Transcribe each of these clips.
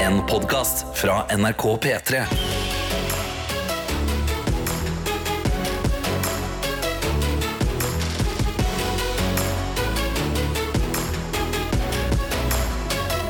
En podcast fra NRK P3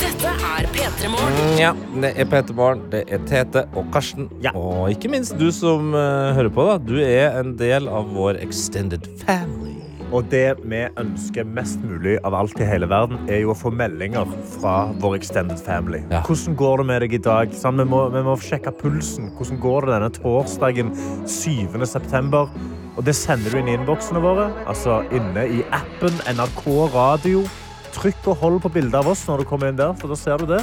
Dette er P3 Morgen. Ja, det er Peter Morgen, det er Tete og Karsten. Og ikke minst du som eh, hører på. da Du er en del av vår extended family. Og det vi ønsker mest mulig av alt i hele verden, er jo å få meldinger fra vår extended family. Ja. Hvordan går det med deg i dag? Sånn, vi, må, vi må sjekke pulsen. Hvordan går det denne torsdagen 7. september? Og det sender du inn i innboksene våre, altså inne i appen NRK Radio. Trykk og hold på bildet av oss når du kommer inn der, for da ser du det.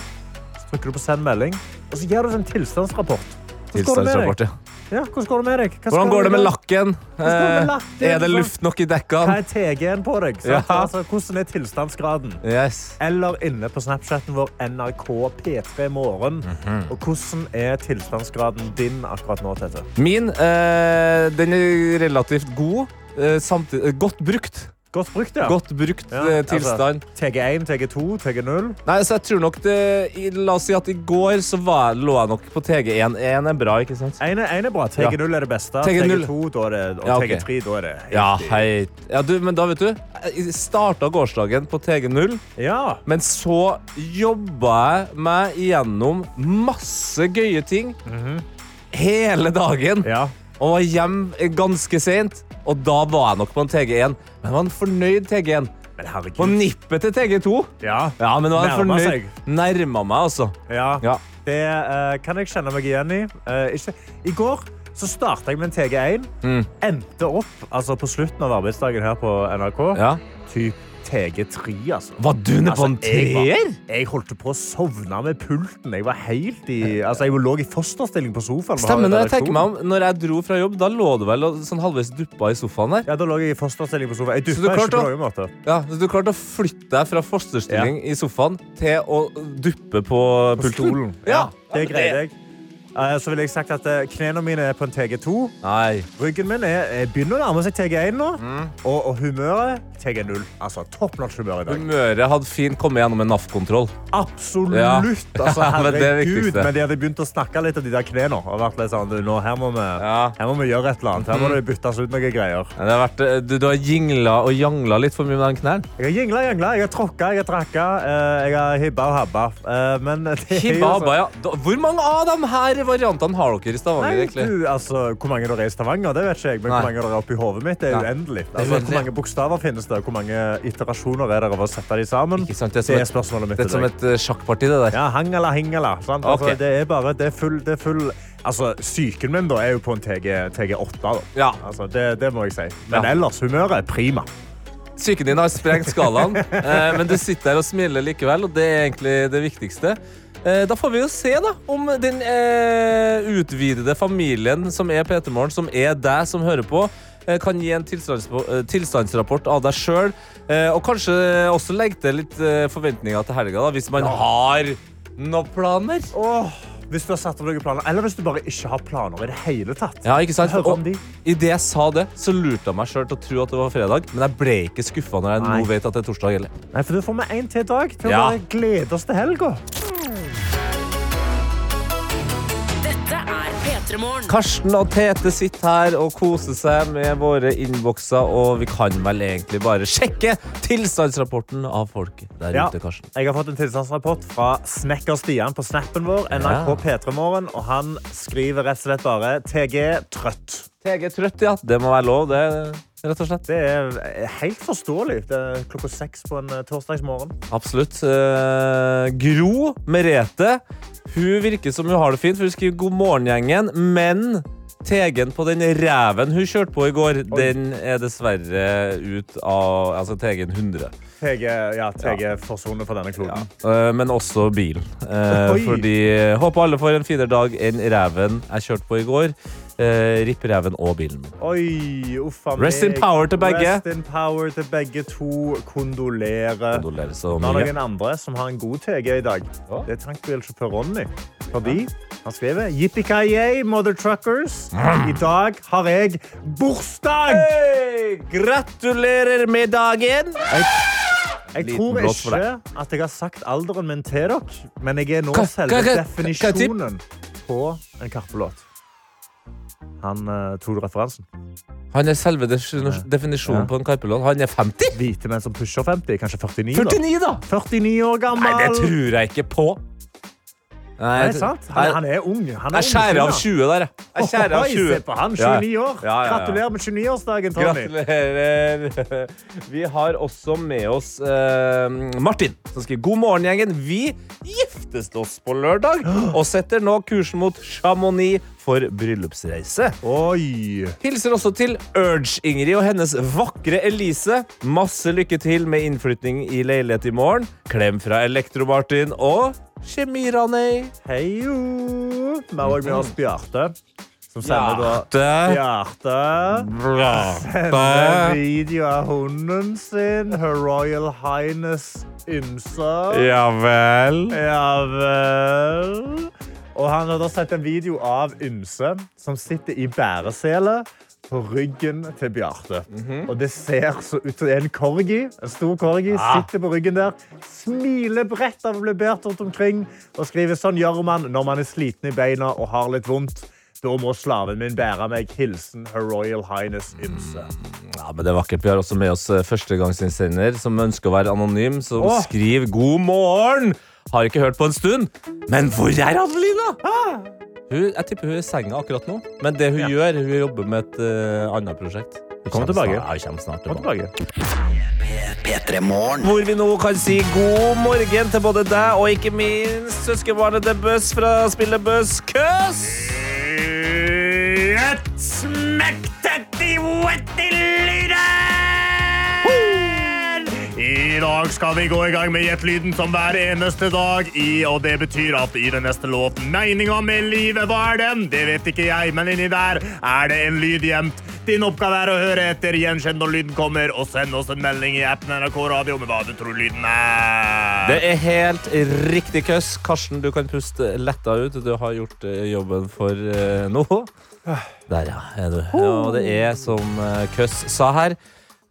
Så trykker du på send melding, og så gir du oss en tilstandsrapport. Hvordan går det med deg? Tilstandsrapport, ja. Ja, hvordan går det med deg? Hva skal Hvordan du går det med gjøre? lakken? går det med Eh, lakken? Er det luft nok i Hva dekkene? er TG-en på deg? sant? Ja. Altså, hvordan er tilstandsgraden? Yes. eller inne på Snapchaten vår NRK P3 Morgen. Og hvordan er tilstandsgraden din akkurat nå, Tete? Min eh, den er relativt god. eh, samti- eh, godt brukt. Godt brukt, ja. Godt brukt Ja, eh, altså. tilstand. TG1, TG2, TG0. Nei, så jeg tror nok det i- La oss si at i går så var, lå jeg nok på TG1. 1 er bra, ikke sant? Én er, en er bra. TG0 er det beste. TG0. TG2 da er det, og Ja, ok. TG3 da er det helt Ja, i- hei. Ja, du, men da, vet du. Jeg starta gårsdagen på TG0. ja. Men så jobba jeg meg igjennom masse gøye ting hele dagen. Mhm. ja. Og var hjem ganske seint. Og da var jeg nok på en TG1. Men jeg var en fornøyd TG1. Men På herregud. nippet til TG2. Ja. Ja, men jeg var Mm. en Nærma fornøyd. seg. Nærma meg, altså. ja. Ja. Det eh, kan jeg kjenne meg igjen i. Eh, ikke. I går så starta jeg med en TG1. Mm. Endte opp altså på slutten av arbeidsdagen her på NRK. Ja. Typ TG3, altså. Var du nede på en Altså, jeg var- treer? Jeg holdt på å sovne med pulten. Jeg var helt i Altså, jeg lå i fosterstilling på sofaen. Vi har Stemmer en når jeg tenker redaksjon. meg om. Når jeg dro fra jobb, da lå du vel og sånn halvveis duppa i sofaen der. Ja, da lå jeg i fosterstilling på sofaen. Jeg Så du duppa ikke klarte på å- noen måte. Ja, så du klarte å flytte deg fra fosterstilling i sofaen til å duppe på, pulten. Ja. Det greide jeg. Eh, Så ville jeg sagt at eh, knærne mine er på en TG2. Nei. Ryggen min er, eh, begynner å nærme seg TG1 nå. Mm. Og, og humøret TG0. Altså topp notch humør i dag. Humøret hadde fint kommet gjennom en NAF-kontroll. Absolutt! Ja. Altså, Ja, men det er det herregud, viktigste. men de hadde begynt å snakke litt om de der knærne. Og vært litt sånn, du, nå, her, må vi, Ja. Mm. her må vi gjøre et eller annet. Her må det byttes ut noen greier. Men Det har vært, eh, du, du har jingla og jangla litt for mye med den knærne. Jeg har jingla, jangla, jeg har tråkka, jeg har trakka, eh, jeg har hibba og habba. Eh, Men det er jo sånn- Hibba, så- habba, ja. Da- Hvor mange av de her variantene har dere i Stavanger? Nei, egentlig? du, altså, hvor mange det er i Stavanger, det vet ikke jeg, men hvor Nei. mange det er oppi hodet mitt, det er Ja. uendelig. er Altså, hvor uendelig. mange bokstaver finnes det, og hvor mange iterasjoner er det av å sette de sammen? Ikke sant? Det som er et- spørsmålet mitt det til er som deg. et eh, sjakkparti, det der. Ja, hangala, hingala. Sant? Altså, Ok. Det er bare, det er full, det er full Altså, psyken min da er jo på en TG, TG8, da. Ja. Altså, det, det må jeg si. Men Ja. ellers, humøret er prima. Psyken din har sprengt skalaen, eh, men du sitter her og smiler likevel, og det er egentlig det viktigste. Eh, Da får vi jo se da, om den eh, utvidede familien som er Peter Morgen, som er deg som hører på, eh, kan gi en tilstandspo- eh, tilstandsrapport av deg sjøl. Og kanskje også legge til litt eh, forventninger til helga, da, hvis man har noen planer. Åh, hvis du har satt opp noen planer, eller hvis du bare ikke har planer i det hele tatt. Ja, ikke sant? Hør om Og de. idet jeg sa det, så lurte jeg meg sjøl til å tro at det var fredag, men jeg ble ikke skuffa når jeg Nei. nå vet at det er torsdag. Eller? Nei, for du får med en til dag til å Ja. bare glede oss til helga. Dette er P3 Morgen. Karsten og Tete sitter her og koser seg med våre innbokser, og vi kan vel egentlig bare sjekke tilstandsrapporten av folk der Ja. ute, Karsten. Jeg har fått en tilstandsrapport fra Snekker-Stian på snappen vår, NRK P3morgen, og han skriver rett og slett bare TG trøtt. TG er trøtt, ja. Det må være lov, det. Rett og slett. Det er helt forståelig. Det er klokka seks på en eh, torsdagsmorgen. Absolutt. Eh, Gro Merete hun virker som hun har det fint, for hun skriver 'God morgen, gjengen', men TG-en på den reven hun kjørte på i går, den er dessverre ut av altså TG-en 100. TG, ja, TG forsoner for denne kloden. Eh, men også bilen. Eh, Oi. fordi eh, Håper alle får en finere dag enn reven jeg kjørte på i går. Eh, Ripp reven og bilen. Oi, uffa meg. Rest in power til begge. Rest in power til begge to. Kondolerer. Kondolerer så Nå er det mye. noen andre som har en god TG i dag. Det er tankbilsjåfør Ronny. Fordi han skriver Yippee-ki-yay, mother truckers. Mm. I dag har jeg bursdag! Hei, gratulerer med dagen! Jeg, Jeg Liten tror blås for ikke at jeg har sagt alderen min til dere, men jeg er nå Hva- selve hva- hva- hva- hva tipp? definisjonen på en Karpe-låt. Han eh, tok referansen. Han er selve des- definisjonen Ja. på en Karpe-låt. Han er 50! Hvite menn som pusher 50. Kanskje 49, da. 49, da! 49 år Nei, gammel! det tror jeg ikke på. Nei, Nei, jeg- sant? Han, Jeg, han er ung. Han er jeg skjærer av ung, 20 der, jeg. jeg. skjærer av Oi, 20. Se på han, Ja, 29 år. Ja, ja, ja. Gratulerer med 29-årsdagen, Tommy. Gratulerer. Vi har også med oss eh, Martin, som skriver God morgen, gjengen. Vi giftes oss på lørdag og setter nå kursen mot Chamonix for bryllupsreise. Oi! Hilser også til Urge-Ingrid og hennes vakre Elise. Masse lykke til med innflytning i leilighet i morgen. Klem fra Elektro-Martin og Kjemi-Ranei. Hei jo! Vi har også med oss Bjarte, som sender da Bjarte. Bjarte sender Bjarte. video av hunden sin, Her Royal Highness Ymse. Ja vel. Ja vel. Og han har da sett en video av Ymse som sitter i bæresele på ryggen til Bjarte. Og det ser så ut som det er en corgi. En stor corgi Ah. sitter på ryggen der, smiler bredt av å bli båret rundt omkring og skriver sånn gjør man når man er sliten i beina og har litt vondt. Da må slaven min bære meg. Hilsen Her Royal Highness Ymse. Ja, men det er vakkert. Vi har også med oss eh, førstegangsinnsender som ønsker å være anonym, som Åh. skriver 'God morgen'. Har ikke hørt på en stund. Men hvor er Adelina? Ah! Hun, jeg tipper hun er i senga akkurat nå. Men det hun gjør, hun jobber med et eh, annet prosjekt. Hun Kommer snart- tilbake. Ja, hun kommer snart tilbake. Tilbake. P3-morgen. Hvor vi nå kan si god morgen til både deg og ikke minst søskenbarnet til Bøss fra spillet Bøss Køss. I dag skal vi gå i gang med Gjettlyden som hver eneste dag. I, og det betyr at i den neste låten Meninga med livet, hva er den? Det vet ikke jeg, men inni der er det en lyd gjemt. Din oppgave er å høre etter, gjenkjenn når lyden kommer, og send oss en melding i appen NRK Radio med hva du tror lyden er. Det er helt riktig køss. Karsten, du kan puste letta ut. Du har gjort eh, jobben for eh, nå. Der, ja. Er du. ja. Og det er som eh, Køss sa her.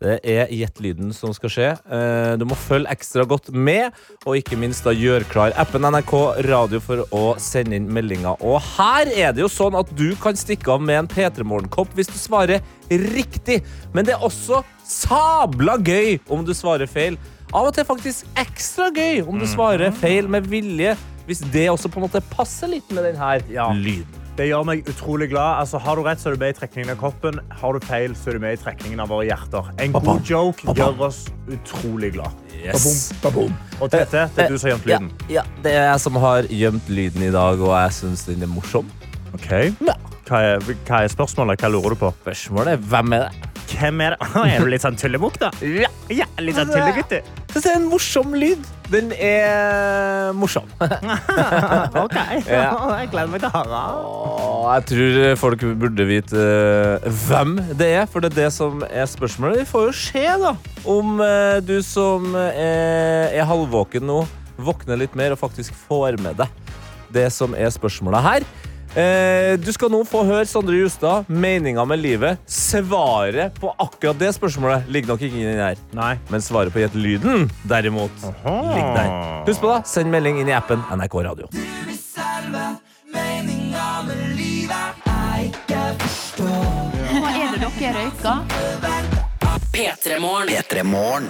Det er gjettlyden som skal skje. Eh, Du må følge ekstra godt med, og ikke minst da gjør klar appen NRK Radio for å sende inn meldinger. Og her er det jo sånn at du kan stikke av med en P3 Morgenkopp hvis du svarer riktig. Men det er også sabla gøy om du svarer feil. Av og til faktisk ekstra gøy om du svarer feil med vilje, hvis det også på en måte passer litt med den her lyden. Det gjør meg utrolig glad. Altså, har du rett, så er du med i trekningen av koppen. Har du feil, så er du med i trekningen av våre hjerter. En god joke gjør oss utrolig glad. Yes. Og Tete, det er du som har gjemt lyden. Eh, Ja, ja, det er jeg som har gjemt lyden i dag, og jeg syns den er morsom. Hva er, hva er spørsmålet? Hva lurer du på? Spørsmålet er hvem er det? Hvem er det? Er du litt sånn tullebukk, da? Ja, ja litt sånn tullegutte. Det er en morsom lyd. Den er morsom. OK. Ja. Jeg gleder meg til å høre. Og jeg tror eh, folk burde vite eh, hvem det er, for det er det som er spørsmålet. Vi får jo se, da, om eh, du som eh, er halvvåken nå, våkner litt mer og faktisk får med deg det som er spørsmålet her. Eh, Du skal nå få høre Sondre Justad, meninga med livet. Svaret på akkurat det spørsmålet ligger nok ikke inni den her. Nei. Men svaret på gjett lyden, derimot, ligger der. Husk på da, send melding inn i appen NRK Radio. Hva er det dere røyker? P3-morgen. P3-morgen.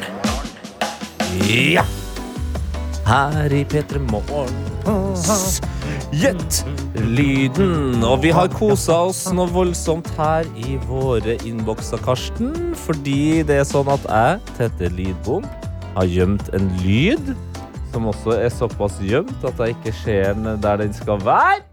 Ja! Her i P3 Morgen. S- Gjett lyden. Og vi har kosa oss noe voldsomt her i våre innbokser, Karsten. Fordi det er sånn at jeg, Tete Lidbom, har gjemt en lyd som også er såpass gjemt at jeg ikke ser den der den skal være.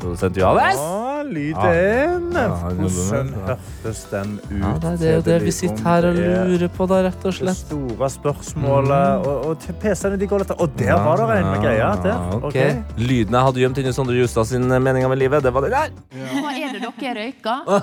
Produsent Johannes. lyden. Ja, den Hvordan jobber med. hørtes den ut? Ja, nei, det er jo det vi sitter her og lurer på, da, rett og Det slett. store spørsmålet. Og, og til PC-ene de går litt Og der var det en greie. Der. Ah, ok. Ok. Lyden jeg hadde gjemt inni Sondre Justad sin eh, meninger med livet, det var det der. Hva er det dere røyker?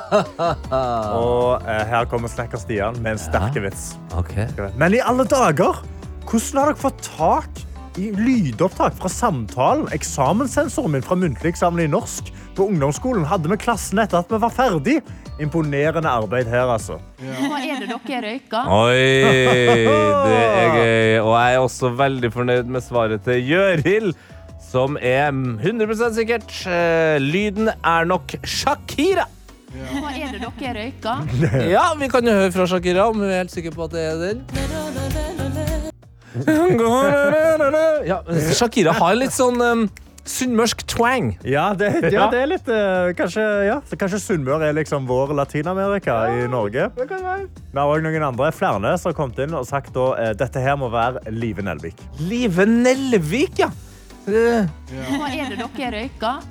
Og eh, her kommer snekker Stian med en sterk vits. Ok. Men i alle dager, hvordan har dere fått tak i lydopptak fra samtalen? Eksamenssensoren min fra muntlig eksamen i norsk På ungdomsskolen hadde vi klassen etter at vi var ferdig. Imponerende arbeid her, altså. Hva er det dere røyker? Oi, det er gøy. Og jeg er også veldig fornøyd med svaret til Gjørild, som er 100 sikkert. Eh, Lyden er nok Shakira. Hva er det dere røyker? Ja, vi kan jo høre fra Shakira om hun er helt sikker på at det er den. Ja, Shakira har litt sånn um, sunnmørsk twang. Ja, det, ja, det er litt eh, Kanskje, ja. Så kanskje Sunnmøre er liksom vår Latin-Amerika i Norge. Vi har òg noen andre flere som har kommet inn og sagt da, eh, dette her må være Live Nelvik. Live Nelvik, ja. Eh, Hva er det dere røyker?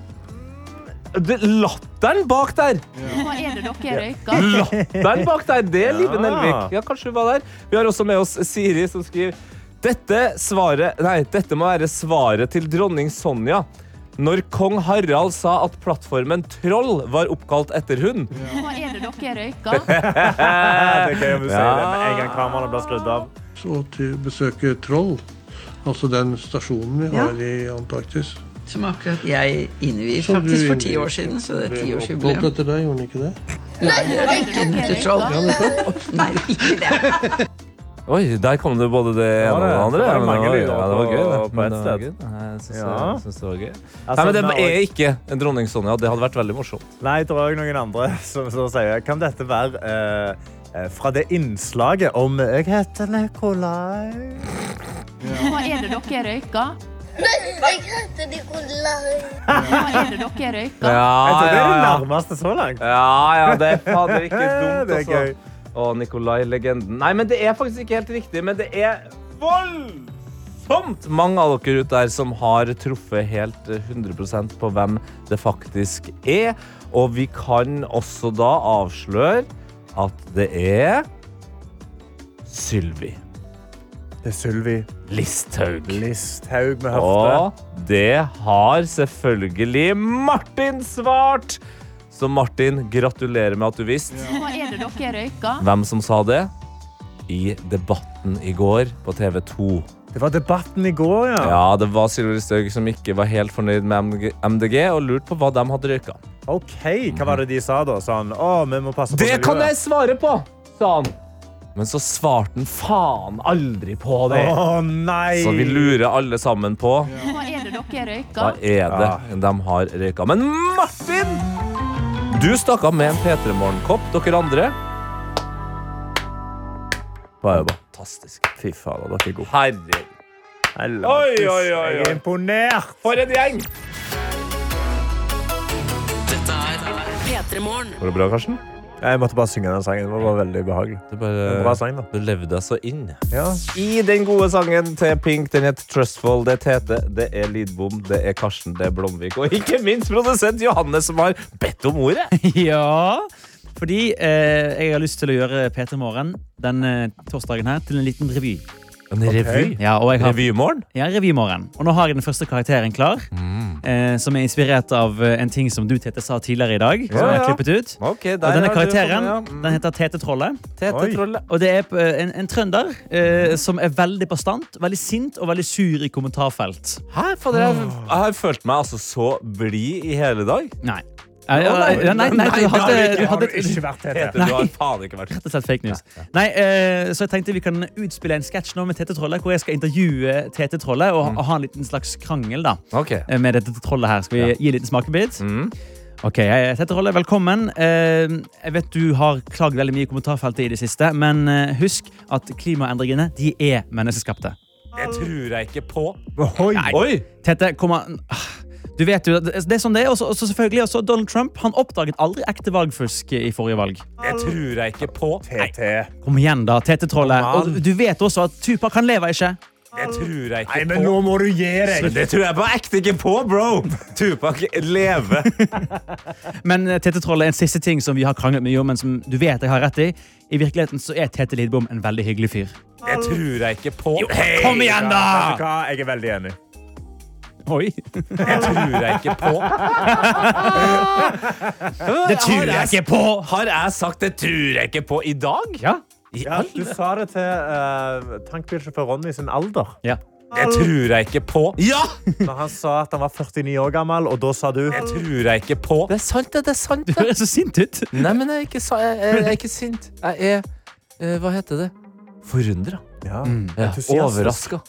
det- Latteren bak der. Hva er det dere røyker? Latteren bak der, det er Live Ja. Nelvik. Ja, kanskje hun var der. Vi har også med oss Siri, som skriver dette, svaret, nei, dette må være svaret til dronning Sonja. Når kong Harald sa at plattformen Troll var oppkalt etter hun. Hva er det dere røyker? Ja, det er gøy om du sier det med Ja. en gang kameraene blir skrudd av. og til besøke Troll. Altså den stasjonen vi har i Antarktis. Som akkurat jeg innviet Som du faktisk for ti innviet. år siden. Så det er Ble oppkalt tiårsjubileum. etter deg, gjorde den ikke det? Til troll. Ja, nettopp. Nei, ikke det. Oi, der kom det både det ene Ja, og det- det andre. det var ja, men mange var- lyder ja, det var på- gøy, på det. ett Men det var sted. gøy. Jeg syns det- Ja. jeg syns det var gøy. Altså, Nei, men vi det har er også- ikke en dronning Sonja. Det hadde vært veldig morsomt. Nei, det er òg noen andre som, som sier Kan dette være eh, eh, fra det innslaget om eh, Jeg heter Nikolai. Hva er det dere røyker? Jeg heter Nikolai. Hva er det dere røyker? Jeg Ja, tror det er det Ah, ja, ja. nærmeste så langt. Ja, ja, det er fader ikke dumt, Det er gøy. altså. Å, Nikolai, legenden. Nei, men det er faktisk ikke helt riktig, men det er voldsomt mange av dere ute der som har truffet helt eh, 100 på hvem det faktisk er. Og vi kan også da avsløre at det er Sylvi. Det er Sylvi Listhaug. Listhaug med høfte. Og det har selvfølgelig Martin svart! Så Martin, gratulerer med at du visste Hva er det dere røyker? hvem som sa det i Debatten i går på TV 2. Det var debatten i går, ja. Ja, det var Sylvi Listhaug som ikke var helt fornøyd med MG- MDG og lurte på hva de hadde røyka. OK, hva var det de sa da? Sa han, å, vi må passe på Det kan miljøet». jeg svare på! sa han. Men så svarte han faen aldri på det. Å nei! Så vi lurer alle sammen på Hva er det dere Hva røyker? er det Ja. de har røyka? Men Martin! Du stakk av med en P3 Morgen-kopp, dere andre. Var jo fantastisk. Fy fader, dere er gode. Herregud. Oi, oi, oi, oi. Jeg er imponert. For en gjeng! Dette er P3 Morgen. Går det bra, Karsten? Jeg måtte bare synge den sangen. Det var veldig behagelig. Det En bare bra sang, da. Du levde deg så inn. Ja. I den gode sangen til Pink, den heter Trustful. Det er Tete, det er Lidbom, det er Karsten, det er Blomvik. Og ikke minst produsent Johannes, som har bedt om ordet. Ja, fordi eh, jeg har lyst til å gjøre P3 Morgen den eh, torsdagen her til en liten revy. En revy. Ja, og jeg har Revymorgen. ja, revymorgen. Og nå har jeg den første karakteren klar, eh, som er inspirert av eh, en ting som du, Tete, sa tidligere i dag. som Ja, jeg har ja. klippet ut. Okay, Og denne sånn, har du karakteren fått med, ja. den heter Tete Trollet. Tete Oi. Trolle. Og det er eh, en, en trønder eh, som er veldig bastant, veldig sint og veldig sur i kommentarfelt. Hæ? Fader, jeg, jeg har følt meg altså så blid i hele dag. Nei. Eh, ja, nei, nei, du Nei, hadde, det har du ikke. du Har hadde du ikke vært Tete? Tete, du har faen ikke vært rett og slett fake news. Nei, eh, så jeg tenkte vi kan utspille en sketsj nå med Tete Trollet, hvor jeg skal intervjue Tete Trollet og, og ha en liten slags krangel da, Ok. eh, med dette trollet her. Skal vi gi en liten smakebit? Ok, eh, Tete Trollet, velkommen. Eh, jeg vet du har klagd veldig mye i kommentarfeltet i det siste, men eh, husk at klimaendringene, de er menneskeskapte. Det tror jeg ikke på. Oi. Oi! Tete, kom an... Ah, Du vet jo, det det er sånn det er, og så og så selvfølgelig også Donald Trump, han oppdaget aldri ekte valgfusk i forrige valg. Det tror jeg ikke på. Nei, Tete. Kom igjen da, Tete-trollet. Kom an. Og du vet også at Tupac han lever ikke. det tror jeg Nei, ikke men på. nå må du gi deg. Men det tror jeg på ekte ikke på, bro! Tupac lever. Men eh, Tete-trollet er en siste ting som vi har kranglet mye om, men som du vet jeg har rett i. I virkeligheten så er Tete Lidbom en veldig hyggelig fyr. Det tror jeg ikke på. Kom igjen, Vet du da! hva? Jeg er veldig enig. Oi. Det tror jeg ikke på. Det tror jeg ikke på! Har jeg sagt 'det tror jeg ikke på' i dag? Ja. I Ja, du alle sa det til uh, tankbilsjåfør eh, Ronny sin alder. ja. Det tror jeg ikke på. Ja! Men han sa at han var 49 år gammel, og da sa du Det tror jeg ikke på. Det er sant, det. det er sant Du høres så sint ut. Nei, men jeg er ikke, sa- jeg, jeg, jeg er ikke sint. Jeg er eh, Hva heter det? Forundra. ja, Mm. Ja, entusiastisk. Overraska.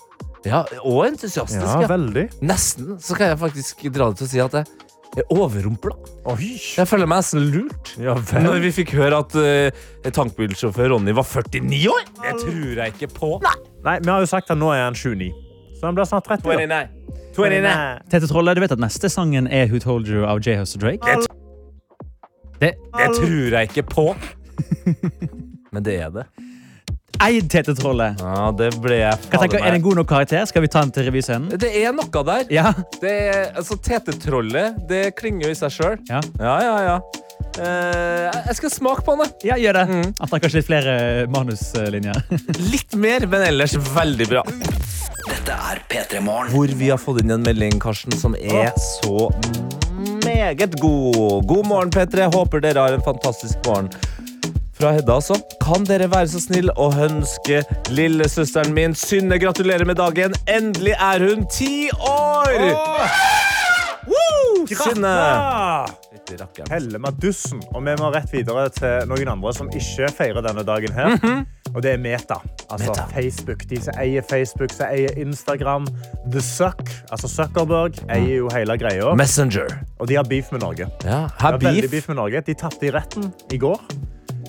Ja, og entusiastisk. Ja, Ja, veldig. Nesten så kan jeg faktisk dra det til å si at jeg er overrumpla. Oi. Jeg føler meg nesten lurt. Ja, Når vel. vi fikk høre at eh, tankbilsjåfør Ronny var 49 år! Det tror jeg ikke på. Nei, vi har jo sagt at nå er han 29. Så han blir snart 30. da. 29. 29. Tete Trolle, du vet at neste sangen er Who Told You av J-House og Drake? Det- Det Det tror jeg ikke på. Men det er det. Eid Tete Trolle. Ja, det ble jeg Hva tenker, er det en god nok karakter? Skal vi ta den til revyscenen? Det er noe der. Ja. Det er, altså, Tetetrollet, det klinger jo i seg sjøl. Ja. ja, ja. ja. Eh, jeg- jeg skal smake på den. jeg. ja, gjør det. Mm. At det er kanskje litt flere eh, manuslinjer. Litt mer, men ellers veldig bra. Dette er P3 Morgen. Hvor vi har fått inn en melding, Karsten, som er så meget god. God morgen, P3. Håper dere har en fantastisk morgen. Fra Hedda, altså. Kan dere være så snill å ønske lillesøsteren min Synne gratulerer med dagen? Endelig er hun ti år! Woo! Synne! Ah, Fytti rakkeren. eh, Helle Madussen. Og vi må rett videre til noen andre som ikke feirer denne dagen her. Og det er Meta. Altså Mhm. Meta. Facebook. De som eier Facebook, som eier Instagram. The Suck. Altså Zuckerberg eier jo hele greia. Messenger. Og de har beef med Norge. Ja, Det her var veldig beef. beef med Norge. De tapte i retten i går.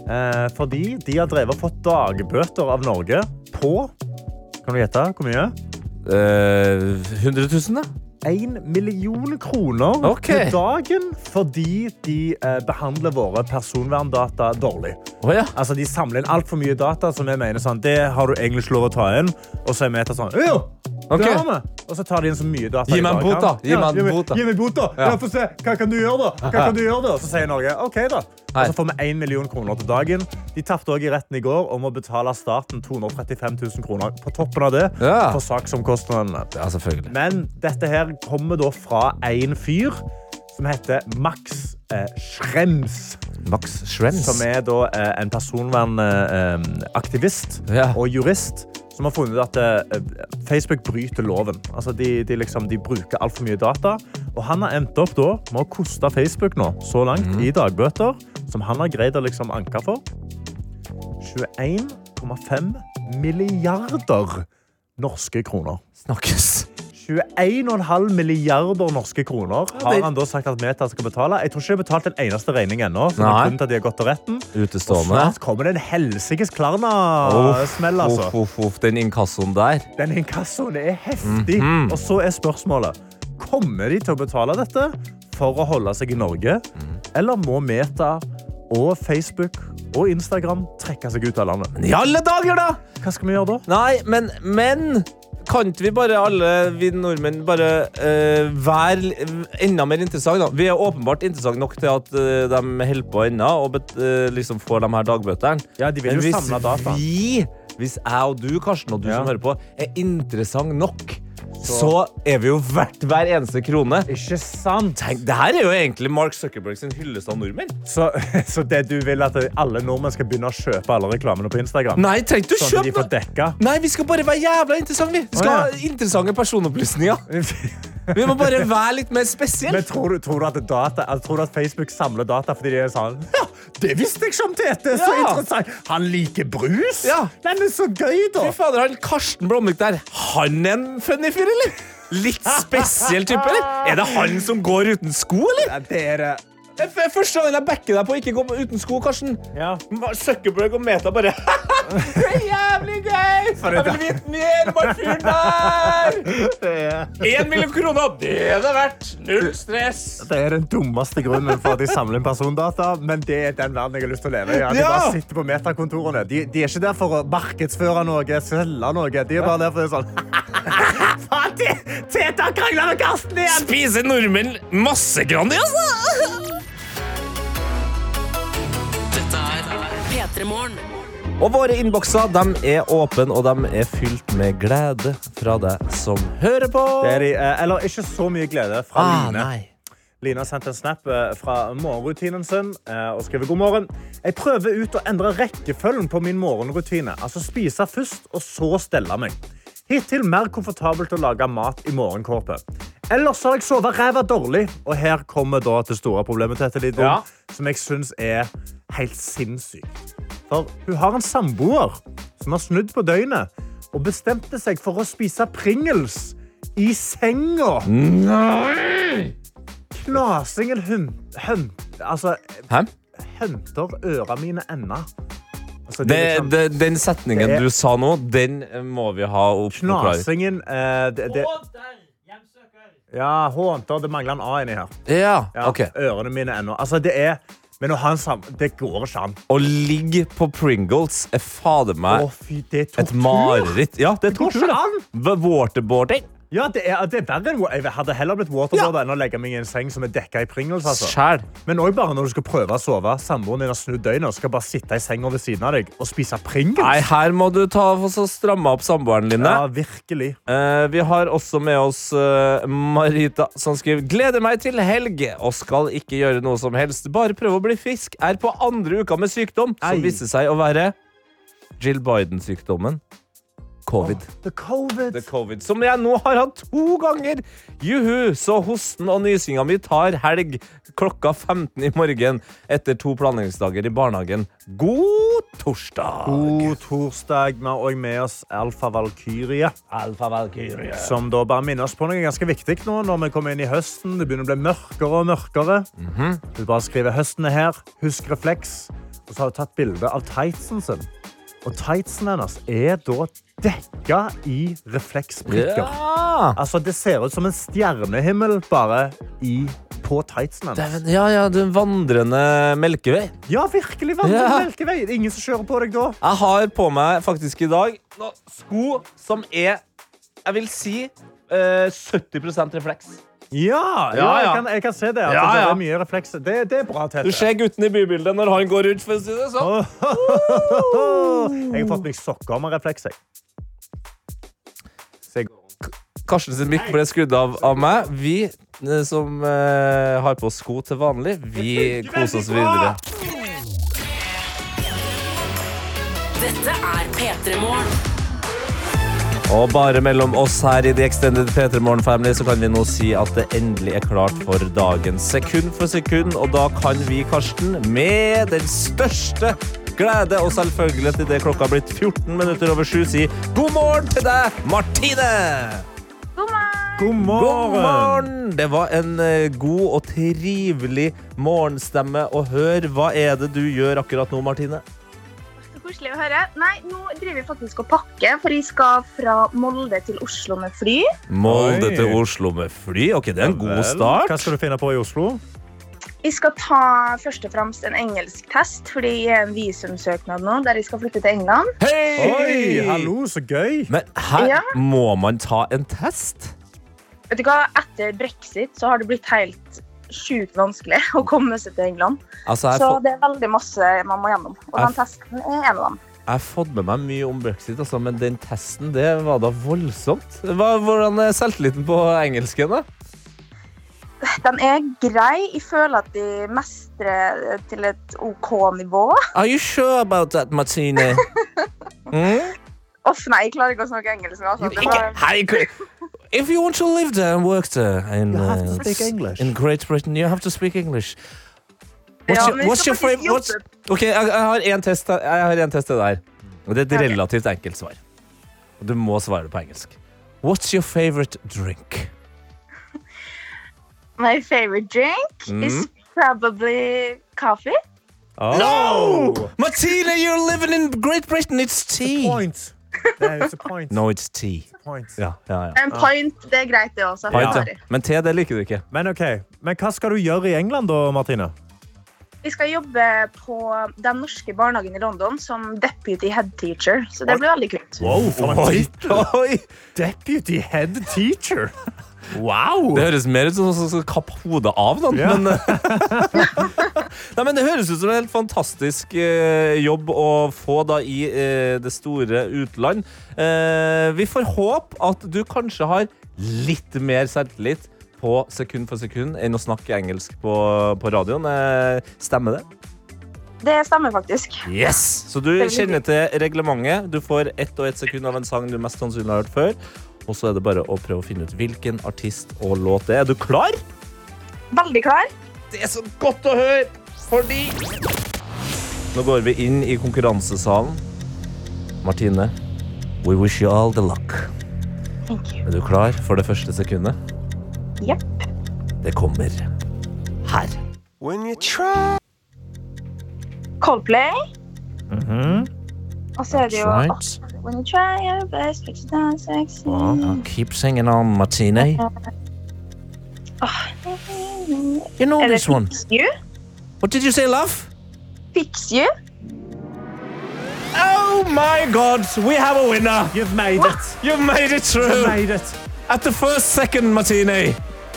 Eh, fordi de har drevet og fått dagbøter av Norge på Kan du gjette hvor mye? Eh, 100 000, da? Én million kroner Ok. til dagen fordi de eh, behandler våre personverndata dårlig. Å ja. Altså, De samler inn altfor mye data som vi mener sånn, det har du egentlig ikke lov å ta inn. Og så er vi etter sånn jo, Ok. det har vi. Og så tar de inn så mye data. Gi de meg en bare bot, da. kan. Gi meg en bot, da. Gi meg bot, da. Ja. Ja. få se. Hva kan du gjøre, da? Hva Ja. kan du gjøre, da? Så sier Norge OK, da. Nei. Og så får vi én million kroner til dagen. De tapte òg i retten i går og må betale staten 235 000 kroner på toppen av det Ja. for saksomkostnadene. Ja, selvfølgelig. Men dette her kommer da fra en fyr som heter Max eh, Schrems. Max Schrems. Som er da eh, en personvernaktivist Ja. og jurist som har funnet at eh, Facebook bryter loven. Altså de, de, liksom, de bruker altfor mye data. Og han har endt opp da med å koste Facebook nå, så langt, Mhm. i dagbøter, som han har greid å liksom anke for. 21,5 milliarder norske kroner. snakkes. 21,5 milliarder norske kroner har det- han da sagt at Meta skal betale. Jeg tror ikke de har betalt en eneste regning ennå. så det Nei. Sånn, er grunnen til at de har gått til retten. Og Utestående. snart kommer det en helsikes Klarna-smell, altså. Uff, uff, uff, den inkassoen der. Den inkassoen er heftig. Mhm. Og så er spørsmålet Kommer de til å betale dette for å holde seg i Norge, Mhm. eller må Meta og Facebook og Instagram trekke seg ut av landet? I alle dager, da! Hva skal vi gjøre da? Nei, men, men kan ikke vi bare alle vi nordmenn bare eh, være l- enda mer interessante? Da? Vi er åpenbart interessante nok til at eh, de holder på ennå og bet, eh, liksom får de her dagbøtene. Ja, de vil Men jo hvis samle data. vi, hvis jeg og du, Karsten, og du Ja. som hører på, er interessant nok, så er vi jo verdt hver eneste krone. Ikke sant? Tenk, det her er jo egentlig Mark Zuckerberg sin hyllest av nordmenn. Så, så det du vil at alle nordmenn skal begynne å kjøpe alle reklamene på Instagram? Nei, trenger du Sånn at de kjøpe får dekka? Nei, vi skal bare være jævla interessante, vi. Vi skal Å, ja. ha interessante personopplysninger. Vi må bare være litt mer spesielle. Men tror du, tror, du at data, altså, tror du at Facebook samler data fordi de er sånn Ja, det visste jeg ikke om Tete! Så Ja. interessant! Han liker brus! Ja. Nei, men så gøy, da! Fy fader, han Karsten Blomvik der, han er en funny fyr, eller? Litt spesiell type, eller? Er det han som går uten sko, eller? Ja, det er det. Jeg f- Første gangen jeg backer deg på å ikke gå uten sko, Karsten. Ja. Ma- Zuckerberg og Meta bare Det er jævlig gøy! Jeg vil vite mer om han fyren der! Det er, Én million kroner, det er det verdt. Null stress. det er den dummeste grunnen for at de samler inn persondata, men det er den verden jeg har lyst til å leve i. Ja, de Ja. bare sitter på metakontorene. De, de er ikke der for å markedsføre noe, selge noe. De er bare der for å sånn Faen, Te- Tete har krangla med Karsten igjen! Spise nordmenn masse Grandiosa! Dette er P3 Morgen. Og våre innbokser de er åpne, og de er fylt med glede fra deg som hører på. Det er de, eh, eller ikke så mye glede fra ah, Line. nei. Line har sendt en snap eh, fra morgenrutinen sin eh, og skriver god morgen. Jeg prøver ut å endre rekkefølgen på min morgenrutine. Altså spise først og så stelle meg. Hittil mer komfortabelt å lage mat i morgenkåpet. Ellers har jeg sovet ræva dårlig, og her kommer da til store problemet til Tete Lidbom, Ja. som jeg syns er helt sinnssykt. For hun har en samboer som har snudd på døgnet og bestemte seg for å spise Pringles i senga. Knasingen hun... hun altså, Hæ? henter øra mine ennå. Altså, det Det, er liksom- det, den setningen Det er- du sa nå, den må vi ha oppklart. Knasingen eh, det, det, Ja, hånter. Det mangler en A inni her. Ja, Ja, ok. Ørene mine ennå. Altså, det er Men å ha en sam... Det går ikke an. Å ligge på Pringles er fader meg Å, fy, det er et tortur. mareritt. Ja, det er Det går tortur, ikke det. an! V- Waterboarding. Ja, det er, det er verre enn Jeg hadde heller blitt waterboarda enn å legge meg i en seng som er dekka i Pringles. Altså. Sjæl. Men òg bare når du skal prøve å sove. Samboeren din har snudd døgnet og skal bare sitte i senga ved siden av deg og spise Pringles. Nei, her må du ta og så stramme opp samboeren din. Ja, virkelig. Eh, vi har også med oss eh, Marita, som skriver Gleder meg til helg og skal ikke gjøre noe som helst. Bare prøve å bli frisk. Er på andre uka med sykdom, Ei. som viste seg å være Jill Biden-sykdommen. Covid. The covid. The covid, som jeg nå har hatt to ganger. Juhu, så hosten og nysinga mi tar helg klokka 15 i morgen etter to planleggingsdager i barnehagen. God torsdag! God torsdag. Vi har også med oss Alfa Valkyrie. Som da bare minner oss på noe ganske viktig nå når vi kommer inn i høsten. Det begynner å bli mørkere og mørkere. Mhm. Hun bare skriver høsten er her, husk refleks. Og så har hun tatt bilde av tightsen sin. Og tightsen hennes er da dekka i refleksprikker. Ja. Altså, det ser ut som en stjernehimmel bare i, på tightsen hennes. Dæven, ja, ja, du vandrende melkevei. Ja, virkelig vanlig Ja. melkevei. Det er Ingen som kjører på deg da. Jeg har på meg faktisk i dag nå, sko som er Jeg vil si eh, 70 refleks. Ja, ja, Ja, ja. Jeg, kan, jeg kan se det. At Ja, Det ja. er mye refleks. Det, det er bra, Tete. Du ser gutten i bybildet når han går rundt. for å si det sånn. Jeg har fått meg sokker med refleks. Jeg. Så jeg Karsten sin mikk ble skrudd av av meg. Vi eh, som eh, har på oss sko til vanlig, vi koser oss videre. Dette er P3 Morgen. Og bare mellom oss her i The Extended P3 Morgen Family så kan vi nå si at det endelig er klart for dagen. Sekund for sekund, og da kan vi, Karsten, med den største glede, og selvfølgelig til det klokka har blitt 14 minutter over 7, si god morgen til deg, Martine! God God morgen! morgen! Det var en eh, god og trivelig morgenstemme å høre. Hva er det du gjør akkurat nå, Martine? Så koselig å høre. Nei, nå driver vi faktisk og pakker, for jeg skal fra Molde til Oslo med fly. Molde Oi. til Oslo med fly. Ok, det er en god Hva start. skal du finne på i Oslo? Jeg skal ta først og fremst en engelsk test, fordi jeg er en visumsøknad nå, der jeg skal flytte til England. Hei! Oi, hallo, så gøy! Men her Ja. må man ta en test? Vet du hva, etter brexit så har det blitt helt sjukt vanskelig å komme seg til England. Altså, jeg, Så har fått- det er veldig masse man må gjennom, og Jeg den testen er en av dem. jeg har fått med meg mye om brexit, altså, men den testen det var da voldsomt. Hva, hvordan er selvtilliten på engelsken? da? Den er grei. Jeg føler at jeg mestrer til et OK nivå. Are you sure about that, Martine? Mm? Uff, nei, jeg klarer ikke å snakke engelsk. nå, Altså. Det Ikke- var... Hei, k- If you want to live there and work there in, have to uh, speak English. in Great Britain, you have to speak English. What's Ja, your, men vi what's skal your faktisk favorite- what's- Ok, jeg, jeg har én test, her- jeg har en test til deg. Og det er et Ok. relativt enkelt svar. Og du må svare det på engelsk. What's your favorite drink? My favorite drink Mm. is probably coffee. No! Martina, you're living in Great Britain. It's tea. Point. Det er jo point. No, it's tea. point. Ja, ja, ja. En pint, det er greit, det også. Pint, ja. Sorry. Men te, det liker du ikke. Men ok, men hva skal du gjøre i England da, Martine? Vi skal jobbe på den norske barnehagen i London som deputy head teacher, så det blir veldig kult. Wow, Oi, oi. Deputy head teacher. Wow! Det høres mer ut som noen som skal kappe hodet av noen. Ja. Men, eh. Nei, men det høres ut som en helt fantastisk eh, jobb å få da i eh, det store utland. Eh, vi får håpe at du kanskje har litt mer selvtillit på sekund for sekund enn å snakke engelsk på, på radioen. Eh, stemmer det? Det stemmer faktisk. Yes! Så du kjenner til reglementet. Du får ett og ett sekund av en sang du mest sannsynlig har hørt før. Og så er det bare å prøve å finne ut hvilken artist og låt det er. Er du klar? Veldig klar. Det er så godt å høre, fordi Nå går vi inn i konkurransesalen. Martine, we wish you all the luck. Thank you. Er du klar for det første sekundet? Jepp. Det kommer her. Coldplay. Mm-hmm. Mhm. Og så er det jo Right. When you try your best, but you don't succeed. Wow, keep singing on, Martine. You know Er det this one. Fix You? What did you say, love? Fix You? Oh my god, we have a winner! You've made it. You made it You've through! made it. At the first second, Martine!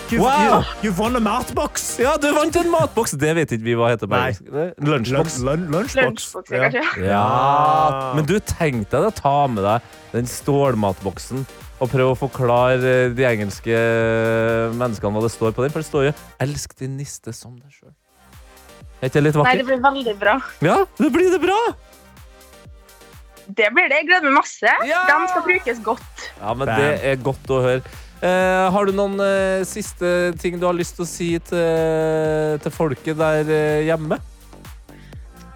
You've, Wow. you- you've won a matbox. Ja, du vant en matboks. Det vet ikke vi hva heter. Nei. Nei. Lunsjboks. Lun- Lunchbox. Lunchbox, Ja. Ah. kanskje. Ja, Ah, men du tenkte deg å ta med deg den stålmatboksen og prøve å forklare eh, de engelske eh, menneskene hva det står på den, for det står jo 'elsk din niste som deg sjøl'. Er ikke det litt Nei, det vakkert? blir veldig bra. Ja, det blir det bra! Det blir det. Jeg gleder meg masse. Ja! De skal brukes godt. Ja, men Bam. det er godt å høre. Eh, har du noen eh, siste ting du har lyst til å si til, til folket der eh, hjemme?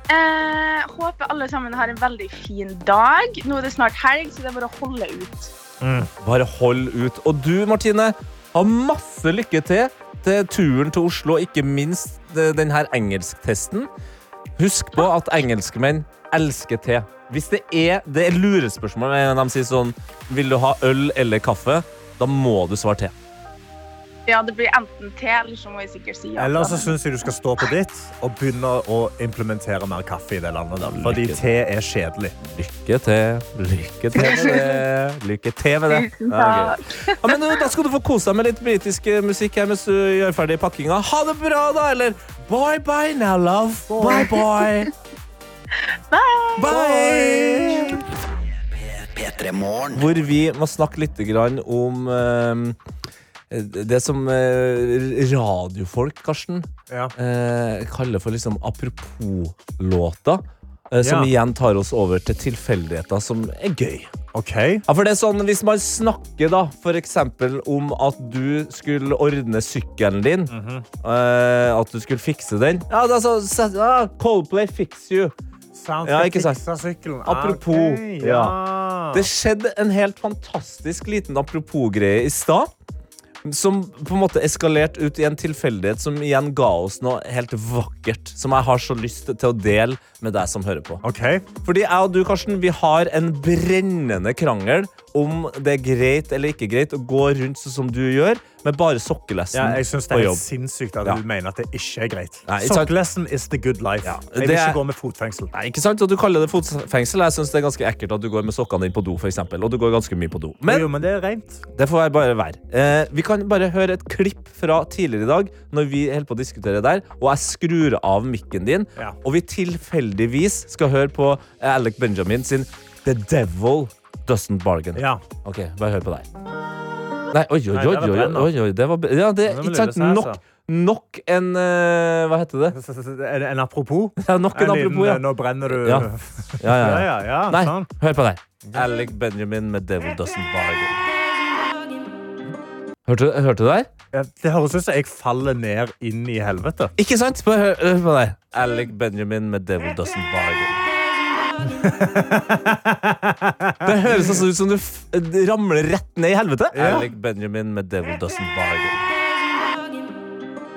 Eh, håper alle sammen har en veldig fin dag. Nå er det snart helg, så det er bare å holde ut. Bare hold ut. Og du, Martine, ha masse lykke til til turen til Oslo, og ikke minst eh, den her engelsktesten. Husk på at engelskmenn elsker te. Hvis det er det er lurespørsmål når de sier sånn Vil du ha øl eller kaffe? Da må du svare te. Ja, det blir enten te, eller så må jeg sikkert si ja. Ellers så syns jeg du skal stå på ditt og begynne å implementere mer kaffe i det landet. Der. Fordi te er kjedelig. Lykke til. Lykke til med det. Lykke til med det. Tusen Ja, takk. gøy. Ja, men eh, da skal du få kose deg med litt britisk eh, musikk her mens du gjør ferdig pakkinga. Ha det bra, da! Eller bye bye now, love. Bye bye. bye. P3 Morgen. Hvor vi må snakke litt grann om eh, det som eh, radiofolk, Karsten, Ja. eh, kaller for liksom apropos-låta. eh, Som Ja. igjen tar oss over til tilfeldigheter som er gøy. OK. Ja, for det er sånn, Hvis man snakker da, for eksempel om at du skulle ordne sykkelen din, eh, at du skulle fikse den Ja, da så, så- ja, Coldplay fix you. Sant, Ja, skal ikke sant. fikse sykkelen. Ah, Apropos, Ok, ja. Det skjedde en helt fantastisk liten apropos-greie i stad. Som på en måte eskalerte ut i en tilfeldighet som igjen ga oss noe helt vakkert. Som jeg har så lyst til å dele med deg som hører på. OK. Fordi jeg og du, Karsten, vi har en brennende krangel om det er greit eller ikke greit å gå rundt sånn som du gjør, med bare sokkelesten Ja, Sånn, jeg synes det på er jobb. sinnssykt at Ja. du mener at det ikke er greit. Nei, ikke sant. Sokkelesten is the good life. jeg vil det ikke er- gå med fotfengsel. Nei, ikke sant? Og du kaller det fotfengsel. Jeg synes det er ganske ekkelt at du går med sokkene dine på do, for eksempel. Og du går ganske mye på do. Men jo, men det er rent. det får jeg bare være. Eh, vi kan bare høre et klipp fra tidligere i dag, når vi holder på å diskutere der, og jeg skrur av mikken din, Ja. og vi tilfeldigvis skal høre på eh, Alec Benjamin sin The Devil Doesn't Bargain. Ja. Ok, bare hør på deg. Nei, oi, oi, Nei, oi, det var oi, brenn, da. oi, oi det var, br- Ja, det Det er var ikke sant. lille sæs, Nok, nok en eh, Hva heter det? En, en apropos. Ja, nok en apropos, liten, ja. eh, Nå brenner du Ja. Ja, ja, ja, ja. ja, ja, Nei, sånn. hør på deg. Alec Benjamin med Devil Doesn't Bargain. Hørte, hørte du det der? Ja, Det høres ut som jeg faller ned inn i helvete. Ikke sant? Bare hør, hør på deg. Alec Benjamin med Devil Doesn't Bargain. Det høres altså ut som du f ramler rett ned i helvete. Alec Benjamin med Devil Doesn't Bargain.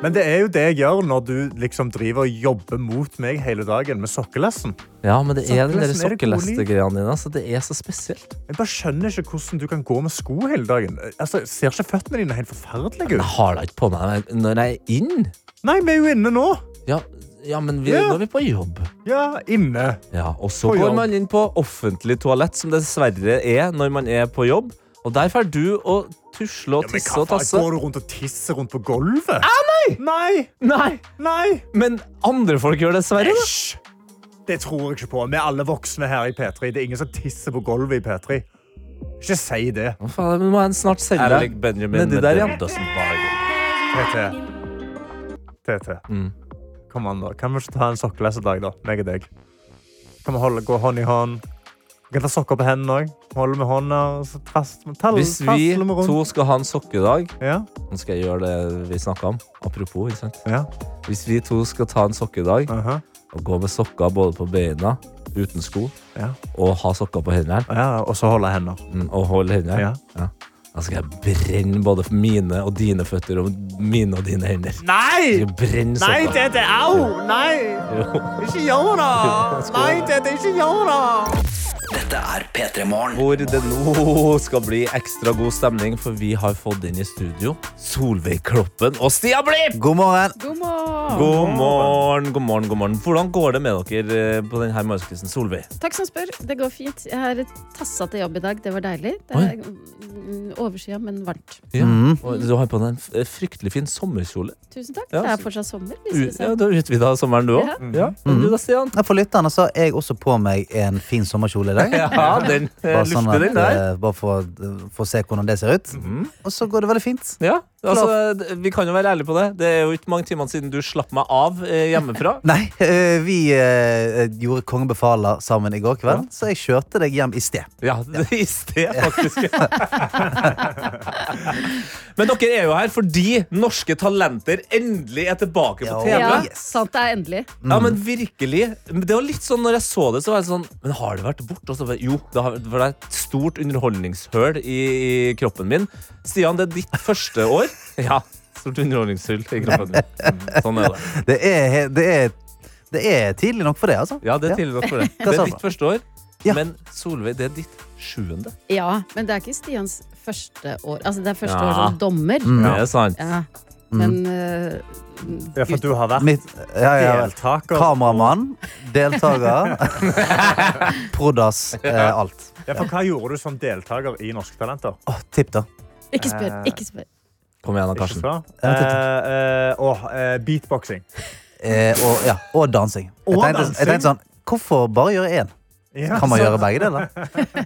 Men det er jo det jeg gjør når du liksom driver og jobber mot meg hele dagen med sokkelesten. Ja, men det er den der Sokkelesten, er det god lyd? sokkeleste-greiene dine. Altså, det er så spesielt. Jeg bare skjønner ikke hvordan du kan gå med sko hele dagen. Altså, Ser ikke føttene dine helt forferdelige Jeg ut? har det ikke på meg når jeg er inn. Nei, vi er jo inne nå. Ja, ja men vi, Ja. nå er vi på jobb. Ja, inne. Ja, og så På går jobb. man inn på offentlig toalett, som det dessverre er når man er på jobb. Og der får du å tusle og Ja, men tisse hva og faen, tasse. Ah, Går du rundt og tisser rundt på gulvet? nei! Nei, Nei! men andre folk gjør det dessverre. da. Æsj! Det tror jeg ikke på. Vi er alle voksne her i P3. Det er ingen som tisser på gulvet i P3. Ikke si det. Hva faen, men må jeg snart selge Alec Benjamin med nedi der Devil igjen? Mm. TT. TT. Kom an, da. Kan vi ikke ta en sokkelesedag, da? Meg og deg. Kan vi holde, gå hånd i hånd? Vi kan ta sokker på hendene òg. Holde med hånda. og så tast- tall- Hvis vi tasler vi rundt. to skal ha en sokkedag ja. Nå skal jeg gjøre det vi snakka om. Apropos, ikke sant? Ja. Hvis vi to skal ta en sokkedag aha. og gå med sokker både på beina, uten sko, Ja. og ha sokker på hendene ja, Og så holde hender. mm, og holde hendene Ja. Ja. Da skal jeg brenne både mine og dine føtter og mine og dine hender. Nei! Jeg skal brenne sokker. Tete! Au! Nei! Ikke gjør det! Nei, Tete, ikke gjør det! Dette er P3 Morgen. Hvor det nå skal bli ekstra god stemning, for vi har fått inn i studio Solveig Kloppen og Stia Blipp! God morgen. God morgen. God morgen, god morgen, god morgen. Hvordan går det med dere eh, på denne morgenskvisten, Solveig? Takk som spør. Det går fint. Jeg har tassa til jobb i dag. Det var deilig. Det er mm, overskya, men varmt. Ja. Mm. Og Du har på deg en f- eh, fryktelig fin sommerkjole. Tusen takk. Ja, Det så- er fortsatt sommer. U- Viser det Ja, seg. du har utvida sommeren, du òg. Ja. Ja. Mm-hmm. Men Du da, Stian? Jeg får lytterne, så har jeg også på meg en fin sommerkjole i dag. Ja, den eh, Bare, sånn lufter at, den der. eh, bare for, å- for å se hvordan det ser ut. Mhm. Og så går det veldig fint. Ja, altså, d- Vi kan jo være ærlige på det. Det er jo ikke mange timene siden du slapp meg av eh, hjemmefra. Nei, eh, vi eh, gjorde Kongen befaler sammen i går kveld, så jeg kjørte deg hjem i sted. Ja, det I sted, faktisk. Men dere er jo her fordi norske talenter endelig er tilbake på Ja. TV. Ja, Ja. Yes. sant det er endelig. men virkelig. Men Det var litt sånn når jeg så det, så var jeg sånn Men har det vært bort? Og så var jeg, jo, det har for det er et stort underholdningshøl i, i kroppen min. Stian, det er ditt første år. Ja. Stort underholdningshull i kroppen min. Sånn er det. Det er, he- det er, det er tidlig nok for det, altså. Ja, det er Ja. tidlig nok for det. Hva Det sa er du? ditt første år. Ja. Men Solveig, det er ditt sjuende. Ja, men det er ikke Stians første år. Altså, det er første Ja. år som dommer. Det er sant. Ja. Mm. Men øh, Ja, for du har vært Mitt, ja, ja, vel. deltaker. Kameramann, deltaker, prodas, eh, alt. Ja, for hva gjorde du som deltaker i Norske Talenter? Eh, Åh, tipp, da. ikke spør, ikke spør. Kom igjen, da, Ikke Karsten. fra? Eh, eh, åh, eh, beatboxing. Eh, og, ja, og dansing. Jeg Og tenkte, dansing? jeg tenkte sånn Hvorfor bare gjøre én? Ja, Kan man så- gjøre begge deler?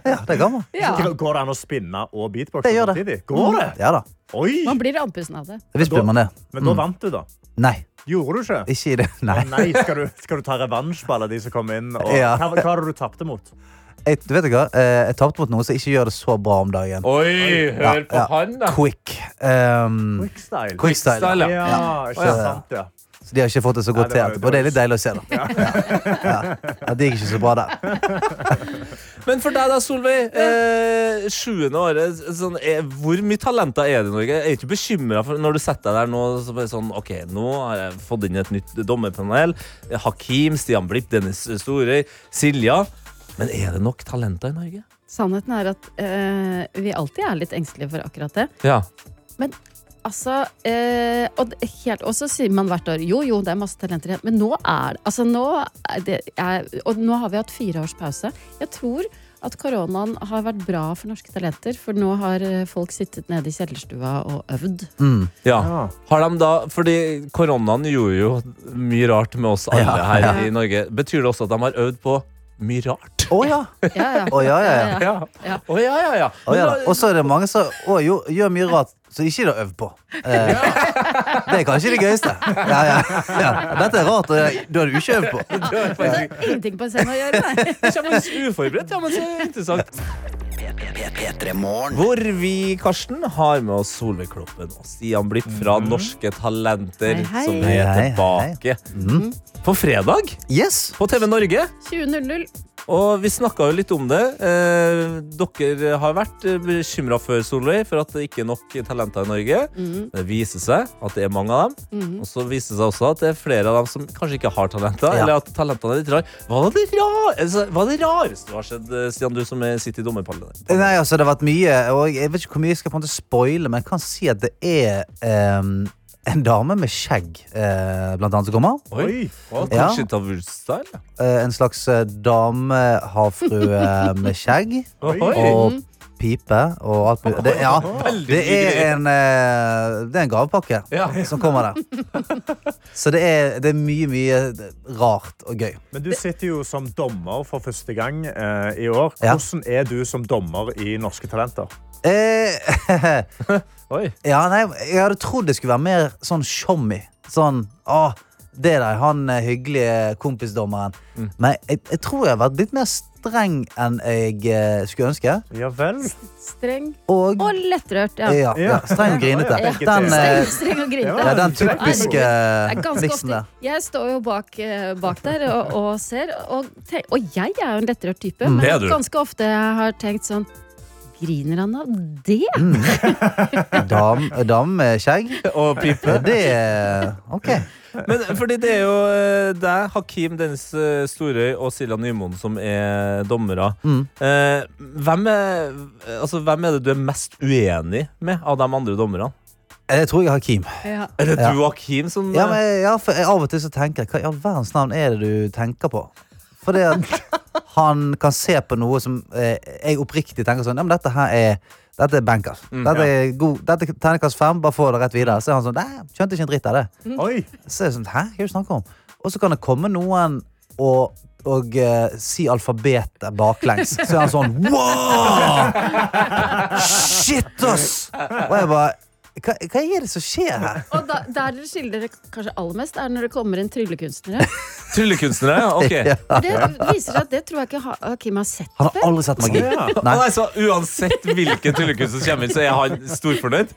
Ja, det kan man. Ja. Går det an å spinne og beatboxe Det Mm. gjør samtidig? Går det? Ja da. Oi! Man blir andpusten av det. Hvis blir man det. Men da Mm. vant du, da. Nei, Gjorde du ikke? ikke i det. Nei. Å nei, skal du, skal du ta revansj på alle de som kom inn? Og, Ja. hva, hva var det du tapte mot? Jeg, du vet ikke, hva? Eh, jeg tapte mot noen som ikke gjør det så bra om dagen. Oi, hør på ja. han, da. Quick. Um, Quickstyle. Quickstyle. Quickstyle, ja. ja. Ja, ikke sant, ja. Så de har ikke fått det så godt Nei, det til var- etterpå. Det er litt deilig å se, da. Ja. Ja, Det gikk ikke så bra der. Men for deg da, Solveig. Eh, sjuende året. Sånn, eh, hvor mye talenter er det i Norge? Jeg er ikke bekymra når du setter deg der nå. Så bare sånn, ok, Nå har jeg fått inn et nytt dommerpanel. Hakim, Stian Blipp, Dennis Storøy, Silja. Men er det nok talenter i Norge? Sannheten er at øh, vi alltid er litt engstelige for akkurat det. Ja. Altså, eh, og, det- helt, og så sier man hvert år jo, jo, det er masse talenter igjen. Men nå er det altså nå er det er, Og nå har vi hatt fire års pause. Jeg tror at koronaen har vært bra for norske talenter, for nå har eh, folk sittet nede i kjellerstua og øvd. Mm. ja. Ja. Har de da, fordi Koronaen gjorde jo mye rart med oss alle Ja. her Ja. i Norge. Betyr det også at de har øvd på mye rart? Å ja. Ja, ja. Å, ja, ja, ja. Ja. Ja. Å, ja, ja, ja. Å, ja da. Men da- Og så er det mange som å, jo, gjør mye rart som de ikke har øvd på. Eh, det er kanskje det gøyeste. Ja, ja, ja. Dette er rart, og du har du ikke øvd på. det var Det faktisk- har ingenting på en scene å gjøre, nei. Det kommer litt uforberedt, ja, men så interessant. P3 Morgen. Hvor vi, Karsten, har med oss Solveig Kloppen og Stian Blipp fra Norske Talenter, Hei, hei. som Hei, er hei, tilbake på fredag Yes. på TV Norge. 20.00. Og vi snakka jo litt om det. Eh, dere har vært bekymra før, Solveig, for at det ikke er nok talenter i Norge. Mhm. Det viser seg at det er mange av dem. Mhm. Og så viser det seg også at det er flere av dem som kanskje ikke har talenter. Ja. Eller at talentene er litt rare. Hva er det, rar, altså, hva er det rareste som har skjedd, eh, Stian, du som er- sitter i dommerpallet? Nei, altså, det har vært mye, og jeg vet ikke hvor mye jeg skal på en måte spoile, men jeg kan si at det er ehm, en dame med skjegg, eh, blant annet, som kommer. Oi. Og Ja. Kanskje ta Wulst-style? Eh, en slags eh, damehavfrue med skjegg Oi! og pipe og alt mulig. Det, ja, det er en, eh, det er en gavepakke Ja. som kommer der. Så det er, det er mye, mye rart og gøy. Men du sitter jo som dommer for første gang eh, i år. Ja. Hvordan er du som dommer i Norske Talenter? Eh, Oi. ja, nei, jeg hadde trodd det skulle være mer sånn showmy. Sånn, å, det der, han eh, hyggelige kompisdommeren. Men jeg, jeg tror jeg har vært litt mer streng enn jeg eh, skulle ønske. Ja vel. Streng og, Eh, lettrørt. Ja. Ja, ja, Streng og grinete. Ja. Den, eh, streng, streng og grinete. ja, den typiske Nei, det er ganske miksen ofte. der. Jeg står jo bak, eh, bak der og, og ser, og, tenk, og jeg er jo en lettrørt type, Mm. men Det er du. ganske ofte jeg har tenkt sånn Griner han av det? Mm. Dam, dam med skjegg. Og pipe. Det er OK. Men fordi det er jo eh, deg, Hakim Dennis eh, Storøy og Silja Nymoen som er dommere. Mm. Eh, hvem, er, altså, hvem er det du er mest uenig med av de andre dommerne? Jeg tror jeg har Kim. Ja. Er det Ja. du og Hakim som eh, Ja, men jeg, ja, for jeg, av og til så tenker jeg Hva i all verdens navn er det du tenker på? Fordi at han kan se på noe som eh, jeg oppriktig tenker sånn Ja, men dette her er dette er bankers. Mm, dette ja. er god, dette er terningkast fem, bare få det rett videre. Så er han sånn Nei, skjønte ikke en dritt av det. Mm. Så er jeg sånn Hæ, hva er det du snakker om? Og så kan det komme noen og, og eh, si alfabetet baklengs. Så er han sånn Wow! Shit, ass! Og jeg bare hva, hva er det som skjer her? Og da, der dere skiller dere kanskje aller mest, er når det kommer inn tryllekunstnere. Tryllekunstnere, ja. Ok. For det viser seg at det tror jeg ikke ha- Hakim har sett. Han har aldri sett magi. Ja. Nei. så altså, uansett hvilken tryllekunst som kommer inn, så er han storfornøyd?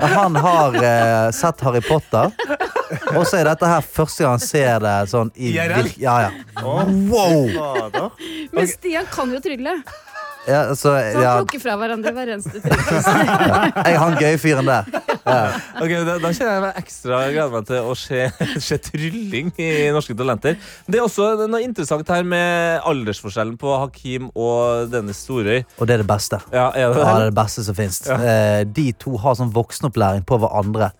Han har eh, sett Harry Potter, og så er dette her første gang han ser det sånn i IRL? virk- Ja, ja. Wow! Men Stian kan jo trylle. Ja, Så så, han ja, plukker fra hverandre hver eneste tryll. jeg han gøye fyren der. Ok, da, da kjenner jeg meg ekstra gleder meg til å se, se trylling i Norske Talenter. Det er også noe interessant her med aldersforskjellen på Hakim og Dennis Storøy. Og det er det beste. Ja, Ja, er det det er det? det beste som fins. Ja. Eh, de to har sånn voksenopplæring på hverandre.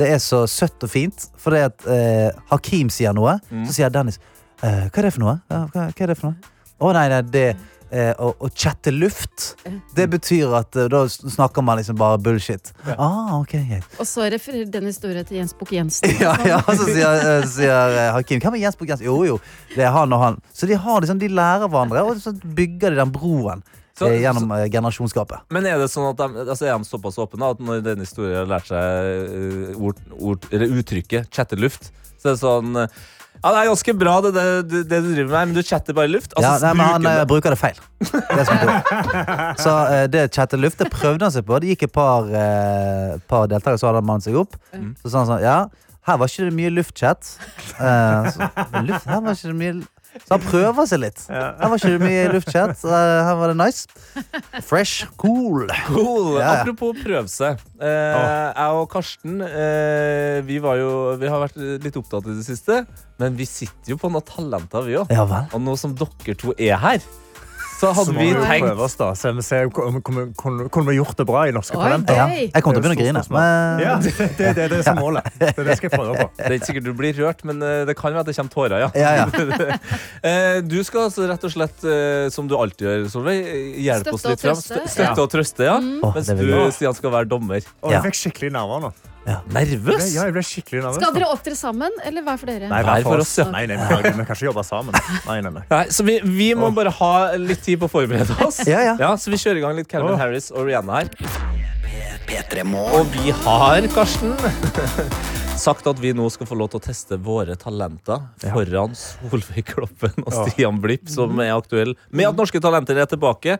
Det er så søtt og fint, fordi at eh, Hakim sier noe, så sier Dennis eh, Hva er det for noe? Ja, hva, hva er det for noe? Å nei, nei, det eh, å, å chatte luft, det betyr at eh, da snakker man liksom bare bullshit. Ah, ok, greit. Og så refererer Dennis Store til Jens Bukk Jensen. Ja, ja, så sier, eh, sier eh, Hakim Hvem er Jens Bukk Jensen? Jo, jo, det er han og han. Så de, har liksom, de lærer hverandre, og så bygger de den broen Så- eh, gjennom eh, generasjonsgapet. Men er det sånn at de, altså er de såpass åpne at når Dennis Storøy har lært seg eh, ord, ord, eller uttrykket 'chatteluft', så er det sånn eh, ja, Det er ganske bra, det, det, det du driver med, men du chatter bare luft. ja, nei, Altså, men han bruker eh, bruker det det- feil. Det er som er så eh, det chatte luft, det prøvde han seg på. Det gikk et par, eh, par deltakere, så hadde han mannet seg opp. Mm. Så sa han sånn, ja, her var ikke det mye luftchat. Eh, så, luft, her var ikke det mye... Så han prøver seg litt. Her var ikke det mye luftchat. eh, her var det nice. Fresh, cool. Ja, Cool. ja. Apropos prøve seg. Eh, Jeg og Karsten eh, vi, var jo, vi har vært litt opptatt i det siste, men vi sitter jo på noen talenter, vi òg. Ja vel. og nå som dere to er her, så hadde må vi jo tenkt prøve oss, da. Se om- se om om- om- kunne kunne vi gjort det bra i Norske Oi, Talenter. Ja. gøy. Jeg kommer til å Det er begynne jo å grine, stort spørsmål. men- Ja, det, det, det, det er som målet. Det, er det skal jeg prøve på. Det er ikke sikkert du blir rørt, men eh, det kan være at det kommer tårer. ja. Ja, Eh, du skal altså rett og slett, eh, som du alltid gjør, Solveig, eh, Støtte hjelpe oss litt og fram. trøste, Mm. Stø- ja. Støtte og trøste, ja. Åh, Mens det vil du, jeg. Stian, skal være dommer. Å, jeg fikk skikkelig nerver nå. Nervøs? Ja, jeg ble skikkelig nervøs. Skal dere opptre sammen, eller hver for dere? Nei, hver for oss. ja. Nei, nei, vi kan- vi kan ikke jobbe sammen. Nei, nei, nei. Nei, så vi, vi må bare ha litt tid på å forberede oss. Ja, ja. så vi kjører i gang litt Calvin Harris og Rihanna her. Og vi har, Karsten, sagt at vi nå skal få lov til å teste våre talenter foran Solveig Kloppen og Stian Blipp, som er aktuell med at Norske Talenter er tilbake.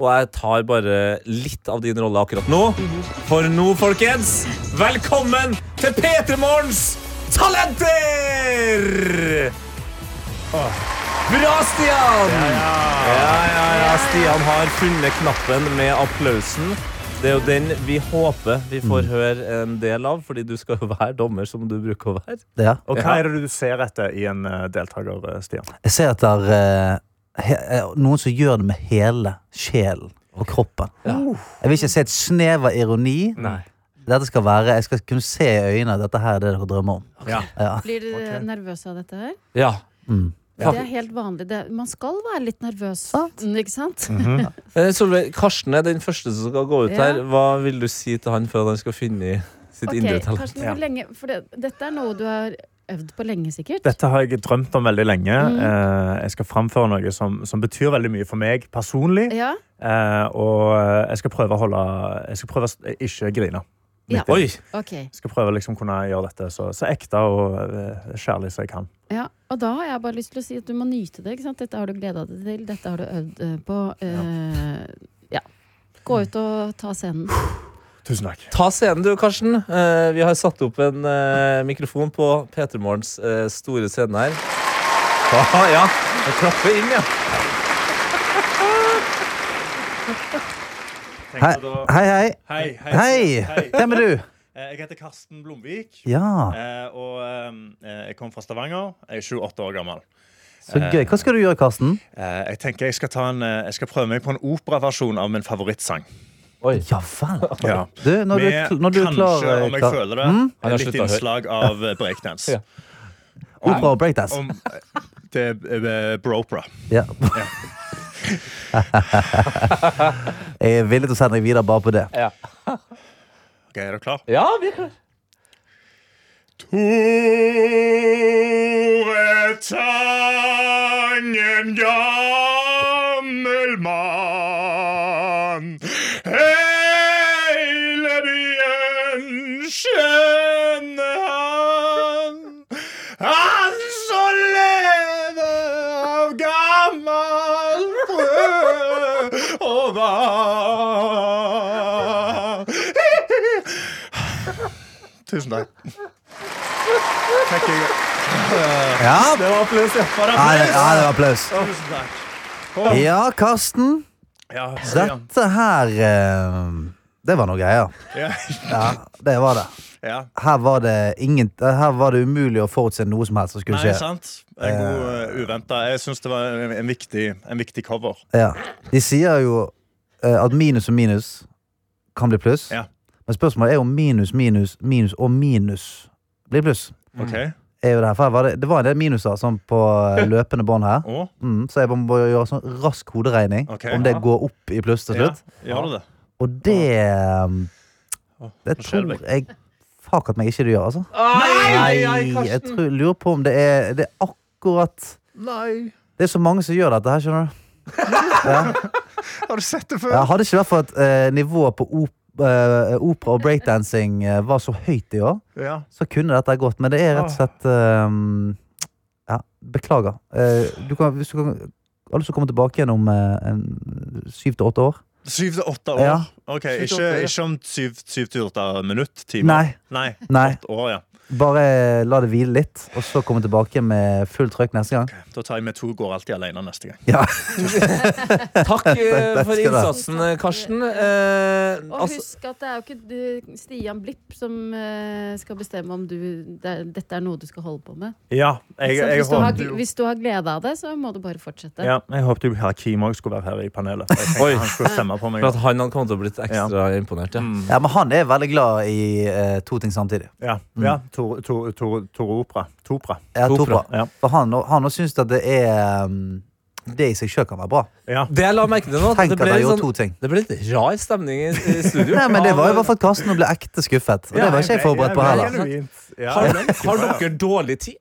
Og jeg tar bare litt av din rolle akkurat nå. For nå, folkens, velkommen til P3 Morgens talenter! Bra, Stian! Ja, ja, ja. Stian har funnet knappen med applausen. Det er jo den vi håper vi får høre en del av, fordi du skal jo være dommer, som du bruker å være. Ja. Og hva er det du ser etter i en eh, deltaker, eh, Stian? Jeg ser etter eh, he, eh, noen som gjør det med hele sjelen og kroppen. Jeg vil ikke se et snev av ironi. Dette skal være, Jeg skal kunne se i øynene at dette her er det dere drømmer om. Ja. Ja. Blir dere nervøse av dette her? Ja. Ja. Det er helt vanlig. Det, man skal være litt nervøs, Mm, ikke sant? Eh, Solveig, Karsten er den første som skal gå ut Ja. her. Hva vil du si til han før han skal finne i sitt Ok, indre talent? Karsten, hvor lenge, for det, dette er noe du har øvd på lenge, sikkert? Dette har jeg drømt om veldig lenge. Mm. Eh, Jeg skal framføre noe som, som betyr veldig mye for meg personlig. Ja. Eh, Og eh, jeg skal prøve å holde Jeg skal prøve å s- eh, ikke grine. Ja. midt i. Ok. Jeg skal prøve å liksom kunne gjøre dette så, så ekte og eh, kjærlig som jeg kan. Ja, og da har jeg bare lyst til å si at du må nyte det. ikke sant? Dette har du gleda deg til, dette har du øvd eh, på. eh, ja. Gå ut og ta scenen. Tusen takk. Ta scenen du, Karsten. Eh, vi har satt opp en eh, mikrofon på P3 Morgens eh, store scene her. Ah, ja, jeg klapper inn, ja. Hei, hei, hei. Hei, Hei. Hvem er du? Eh, Jeg heter Karsten Blomvik. Ja. Eh, Og eh, jeg kommer fra Stavanger. Jeg er 28 år gammel. Så gøy. Hva skal du gjøre, Karsten? Eh, Jeg tenker jeg skal, ta en, eh, jeg skal prøve meg på en operaversjon av min favorittsang. Ja vel. Ja. Du, når du, er Med kl- når du er klar Kanskje, om jeg Kar- føler det, Mm? eh, litt innslag av eh, breakdance. Opera og breakdance. Om, eh, det er eh, bropera. Ja. Jeg er villig til å sende deg videre bare på det. Ok, Er dere klar? Ja, vi er klare. Tore Tang, en gammel mann. Hele byen kjenner han. Han som lever av gammelt brød og vann. Tusen takk. Takk, jeg. Ja. Det var applaus, ja. Var det Ja, det- ja, det var applaus. Tusen takk. Ja, Karsten. Ja, Stian. Dette her eh, Det var noe greier. Ja. Ja, det var det. Ja. Her var det, ingen, her var det umulig å forutse noe som helst som skulle Nei, skje. Eh. sant. En god uh, uventa. Jeg syns det var en, en, viktig, en viktig cover. Ja. De sier jo eh, at minus og minus kan bli pluss. Ja. Men spørsmålet er jo minus, minus, minus og minus blir pluss. Mm. Ok. Er jo det, her. For her var det, det var en del minuser sånn på eh, løpende bånd her. Å? Mm, så jeg må bare gjøre sånn rask hoderegning Ok. om det går opp i pluss til slutt. Ja, gjør du det? Og det eh, Det nå skjer tror det jeg fuck at meg ikke det gjør, altså. Ai, ai, Nei, jeg Karsten. tror, lurer på om det er, det er akkurat Nei. Det er så mange som gjør dette her, skjønner du. Ja. Har du sett det før? Jeg hadde ikke vært for at eh, nivået på op eh, opera og breakdancing eh, var så høyt i år, Ja. så kunne dette gått. Men det er rett og slett eh, Ja, beklager. Eh, du kan, hvis du kan, alle som kommer tilbake igjen om eh, en syv til åtte år Syv til åtte år? Ja. Ok, Syv til Ikke, åtte år, ja. ikke om syv syv til åtte minutt? Nei. Timer? Nei. Nei. Åtte år, ja. Bare la det hvile litt, og så komme tilbake med fullt trøkk neste gang. Da tar jeg med to går alltid alene neste gang. Ja. Takk eh, Takk skal for du ha. innsatsen, eh, Karsten. Eh, Og altså, husk at det er jo ikke eh, Stian Blipp som eh, skal bestemme om du, det, er- dette er noe du skal holde på med. Ja, jeg, Så jeg hvis, du har, håpet jo- hvis du har glede av det, så må du bare fortsette. ja, jeg håpet jo Hakim òg skulle være her i panelet. for Jeg tenkte han skulle stemme på meg. for at han hadde kommet til å blitt ekstra imponert. Ja. Ja, Men han er veldig glad i eh, to ting samtidig. Ja, ja Tore Tor, Tor, Tor Opera. Topra. Mm. Ja, Topra. Ja. For han, han også syns at det er um, Det i seg sjøl kan være bra. Det jeg la merke til nå, at Tenk det at ble, jeg litt gjorde sånn, to ting. det ble litt rar stemning i, i studio. Nei, men Det var jo Av- bare for at Karsten ble ekte skuffet. Og det var ikke jeg forberedt på heller. Har, har dere dårlig tid?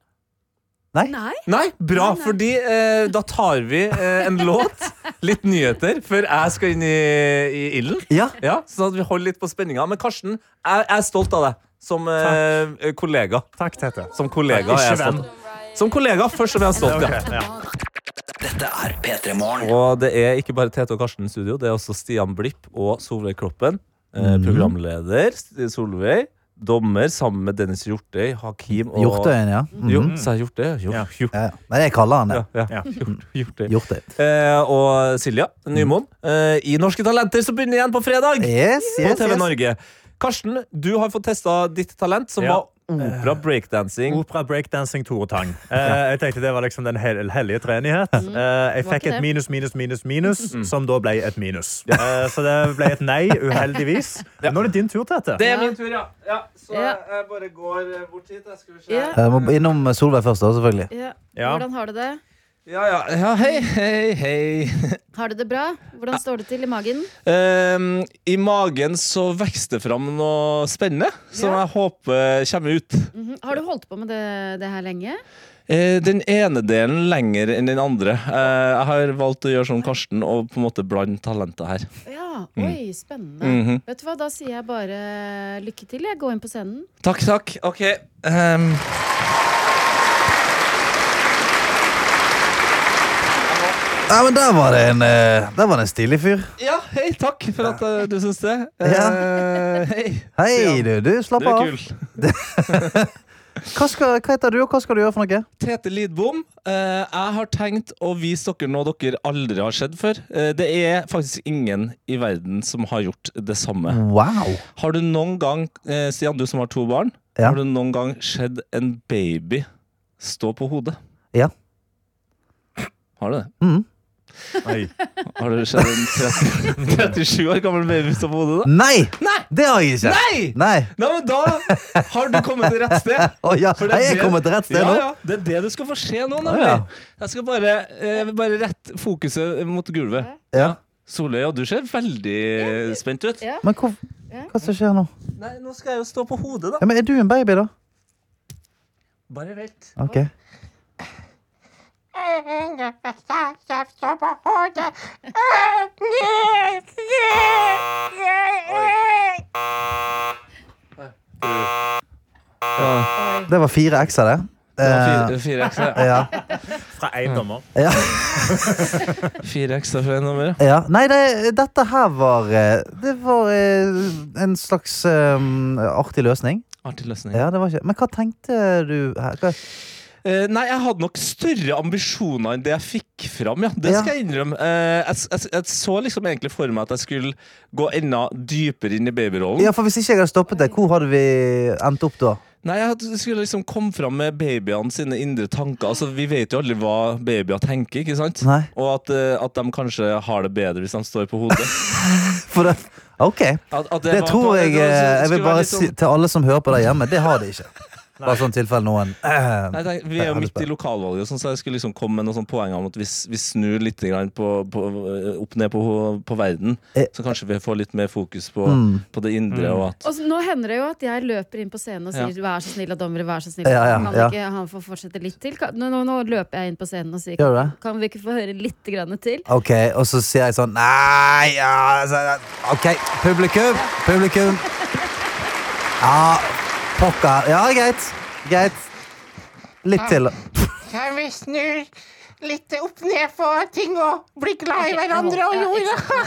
Nei. Nei. Bra, fordi eh, da tar vi eh, en låt, litt nyheter, før jeg skal inn i, i ilden. Ja. sånn at vi holder litt på spenninga. Men Karsten, jeg, jeg er stolt av deg som eh, kollega. Takk, Tete. Som kollega er jeg Ikke venn. stolt. Som kollega først og fremst stolt, ja. Ok, ja. Dette er P3 Morgen. Og det er ikke bare Tete og Karsten i studio, det er også Stian Blipp og Solveig Kloppen. Eh, programleder St- Solveig. Dommer sammen med Dennis Hjortøy, Hakim og Hjortøyen, ja. Mhm. Jo, sa jeg Hjortøy? Jo, Hjort- Ja, ja. Nei, jeg kaller han det. Ja, ja. Hjort- Hjortøy. Gjort det. Eh, og Silja Nymoen. Eh, I Norske Talenter som begynner igjen på fredag! Yes, yes, på TV yes. Norge. Karsten, du har fått testa ditt talent, som Ja. var opera breakdancing. Opera breakdancing Tore Tang. Eh, jeg tenkte det var liksom den hel hellige treenighet. Eh, jeg Mm. Var fikk ikke et det. minus, minus, minus, minus, Mm. som da ble et minus. Eh, så det ble et nei, uheldigvis. Nå er det din tur, Tete. Det er min tur, ja. ja så Ja. jeg- jeg bare går eh, bort hit. Jeg skal vi se. Ja. Jeg må innom eh, Solveig først, da, selvfølgelig. Ja. Ja. Hvordan har du det? Ja, ja. ja, hei, hei, hei. Har du det bra? Ah. Hvordan står det til i magen? Ehm, I magen så vokser det fram noe spennende som jeg håper kommer ut. Mhm. Har du holdt på med det, det her lenge? Eh, den ene delen lenger enn den andre. Eh, jeg har valgt å gjøre som Karsten og på en måte blande talentet her. Ja. Mm. Oi, spennende. Mhm. Vet du hva, Da sier jeg bare lykke til. Jeg går inn på scenen. Takk, takk. OK. ehm. Ja, men der var det en, eh, der var det en stilig fyr. Ja, hei, takk for at eh, du syns det. Eh, hei. Hei, du. Du, slapp Du er av. kul. hva, skal, hva heter du, og hva skal du gjøre for noe? Tete Lidbom, eh, jeg har tenkt å vise dere noe dere aldri har sett før. Eh, det er faktisk ingen i verden som har gjort det samme. Wow. Har du noen gang, eh, Stian, du som har to barn, Ja. har du noen gang sett en baby stå på hodet? Ja. Har du det? Mm. Har du sett en 30, 37 år gammel baby stå på hodet? da? Nei! Det har jeg ikke. Nei! Nei. Nei, men da har du kommet til rett sted. Å ja, For det er jeg er det- kommet til rett sted ja, nå. Ja, det er det du skal få se nå, Å nemlig. ja. Jeg skal bare, eh, jeg vil bare rette fokuset mot gulvet. Ja. Soløy, ja, du ser veldig spent ut. Men hvor, hva som skjer nå? Nei, nå skal jeg jo stå på hodet, da. Ja, men er du en baby, da? Bare vent. Ok. Det var fire x-er, det. Det var fire- fire X-er, ja. Eh, ja. Fra én dommer. Ja. Fire ekstra fra en nummer. ja. Nei, det, dette her var eh, Det var eh, en slags eh, artig løsning. Artig løsning. Ja, det var ikke Men hva tenkte du her? Hva? Eh, nei, jeg hadde nok større ambisjoner enn det jeg fikk fram. Ja. Det Ja. skal jeg innrømme. Eh, jeg, s- jeg, s- jeg så liksom egentlig for meg at jeg skulle gå enda dypere inn i babyrollen. Ja, for Hvis ikke jeg hadde stoppet det, hvor hadde vi Eh, endt opp da? Nei, jeg hadde- skulle liksom komme fram med babyene sine indre tanker. Altså, Vi vet jo aldri hva babyer tenker, ikke sant? Nei. Og at, eh, at de kanskje har det bedre hvis de står på hodet. For det, ok, At- at det, var på- tror jeg det eh, Jeg skulle vil være bare litt si sånn- til alle som hører på der hjemme, det har de ikke. Bare sånn tilfelle noen eh, Nei, tenk, vi er jo hadde midt i spurt. lokalvalget, sånn, så jeg skulle liksom komme med noen sånne poeng om at hvis vi snur litt grann på, på, eh, opp ned på, på verden, så kanskje vi får litt mer fokus på, Eh. Mm. på det indre. Og at, Og så, nå hender det jo at jeg løper inn på scenen og sier 'vær så snill, da, dommere', vær så snill. Ja, ja, kan ja. vi ikke, han får fortsette litt til. Kan, nå, nå, nå løper jeg inn på scenen og sier Gjør du det? Kan vi ikke få høre litt grann til? Ok, og så sier jeg sånn Nei, ja altså, Ok, publikum, publikum Ja, pokker Ja, greit, greit Litt til Kan vi snu litt opp ned på ting og bli glad i Ok, hverandre og ja, jorda?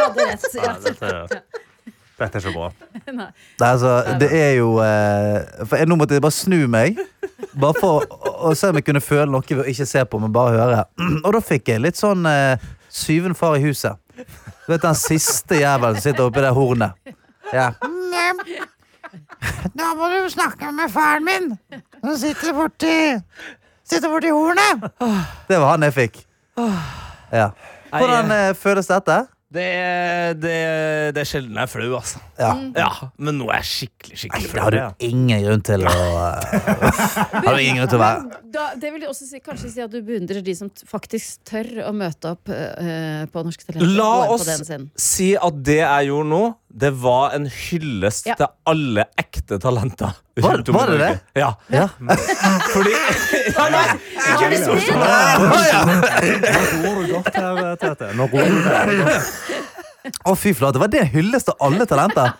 Dere hadde rett. Nei, dette, dette er ikke bra. Nei. Nei, altså, det er jo eh, For jeg, nå måtte jeg bare snu meg Bare for å, å se om jeg kunne føle noe Ved å ikke se på, men bare høre Og da fikk jeg litt sånn eh, Syven far i huset Du vet den siste jævelen som sitter oppe i det hornet Ja, Nem. Da må du snakke med faren min, som sitter borti Sitter borti hornet. det var han jeg fikk ja. Hvordan eh, føles dette? det, er- det, er- det er sjelden jeg er flau, altså. Ja. Men nå er jeg skikkelig, skikkelig Det har du ja. ingen grunn til å Har du ingen grunn til å være Da, det vil jeg også si, kanskje si at du beundrer de som t- faktisk tør å møte opp eh, på Norske Talenter. La og gå inn på oss den scenen. si at det jeg gjorde nå, det var en hyllest Ja. til alle ekte talenter. Var- rundt om i var det Norge. det? Ja. Ja. Fordi ja, nei, ikke misforstå Nå ror du godt her, Tete. Nå ror du der. Å, fy flate, var det en hyllest av alle talenter?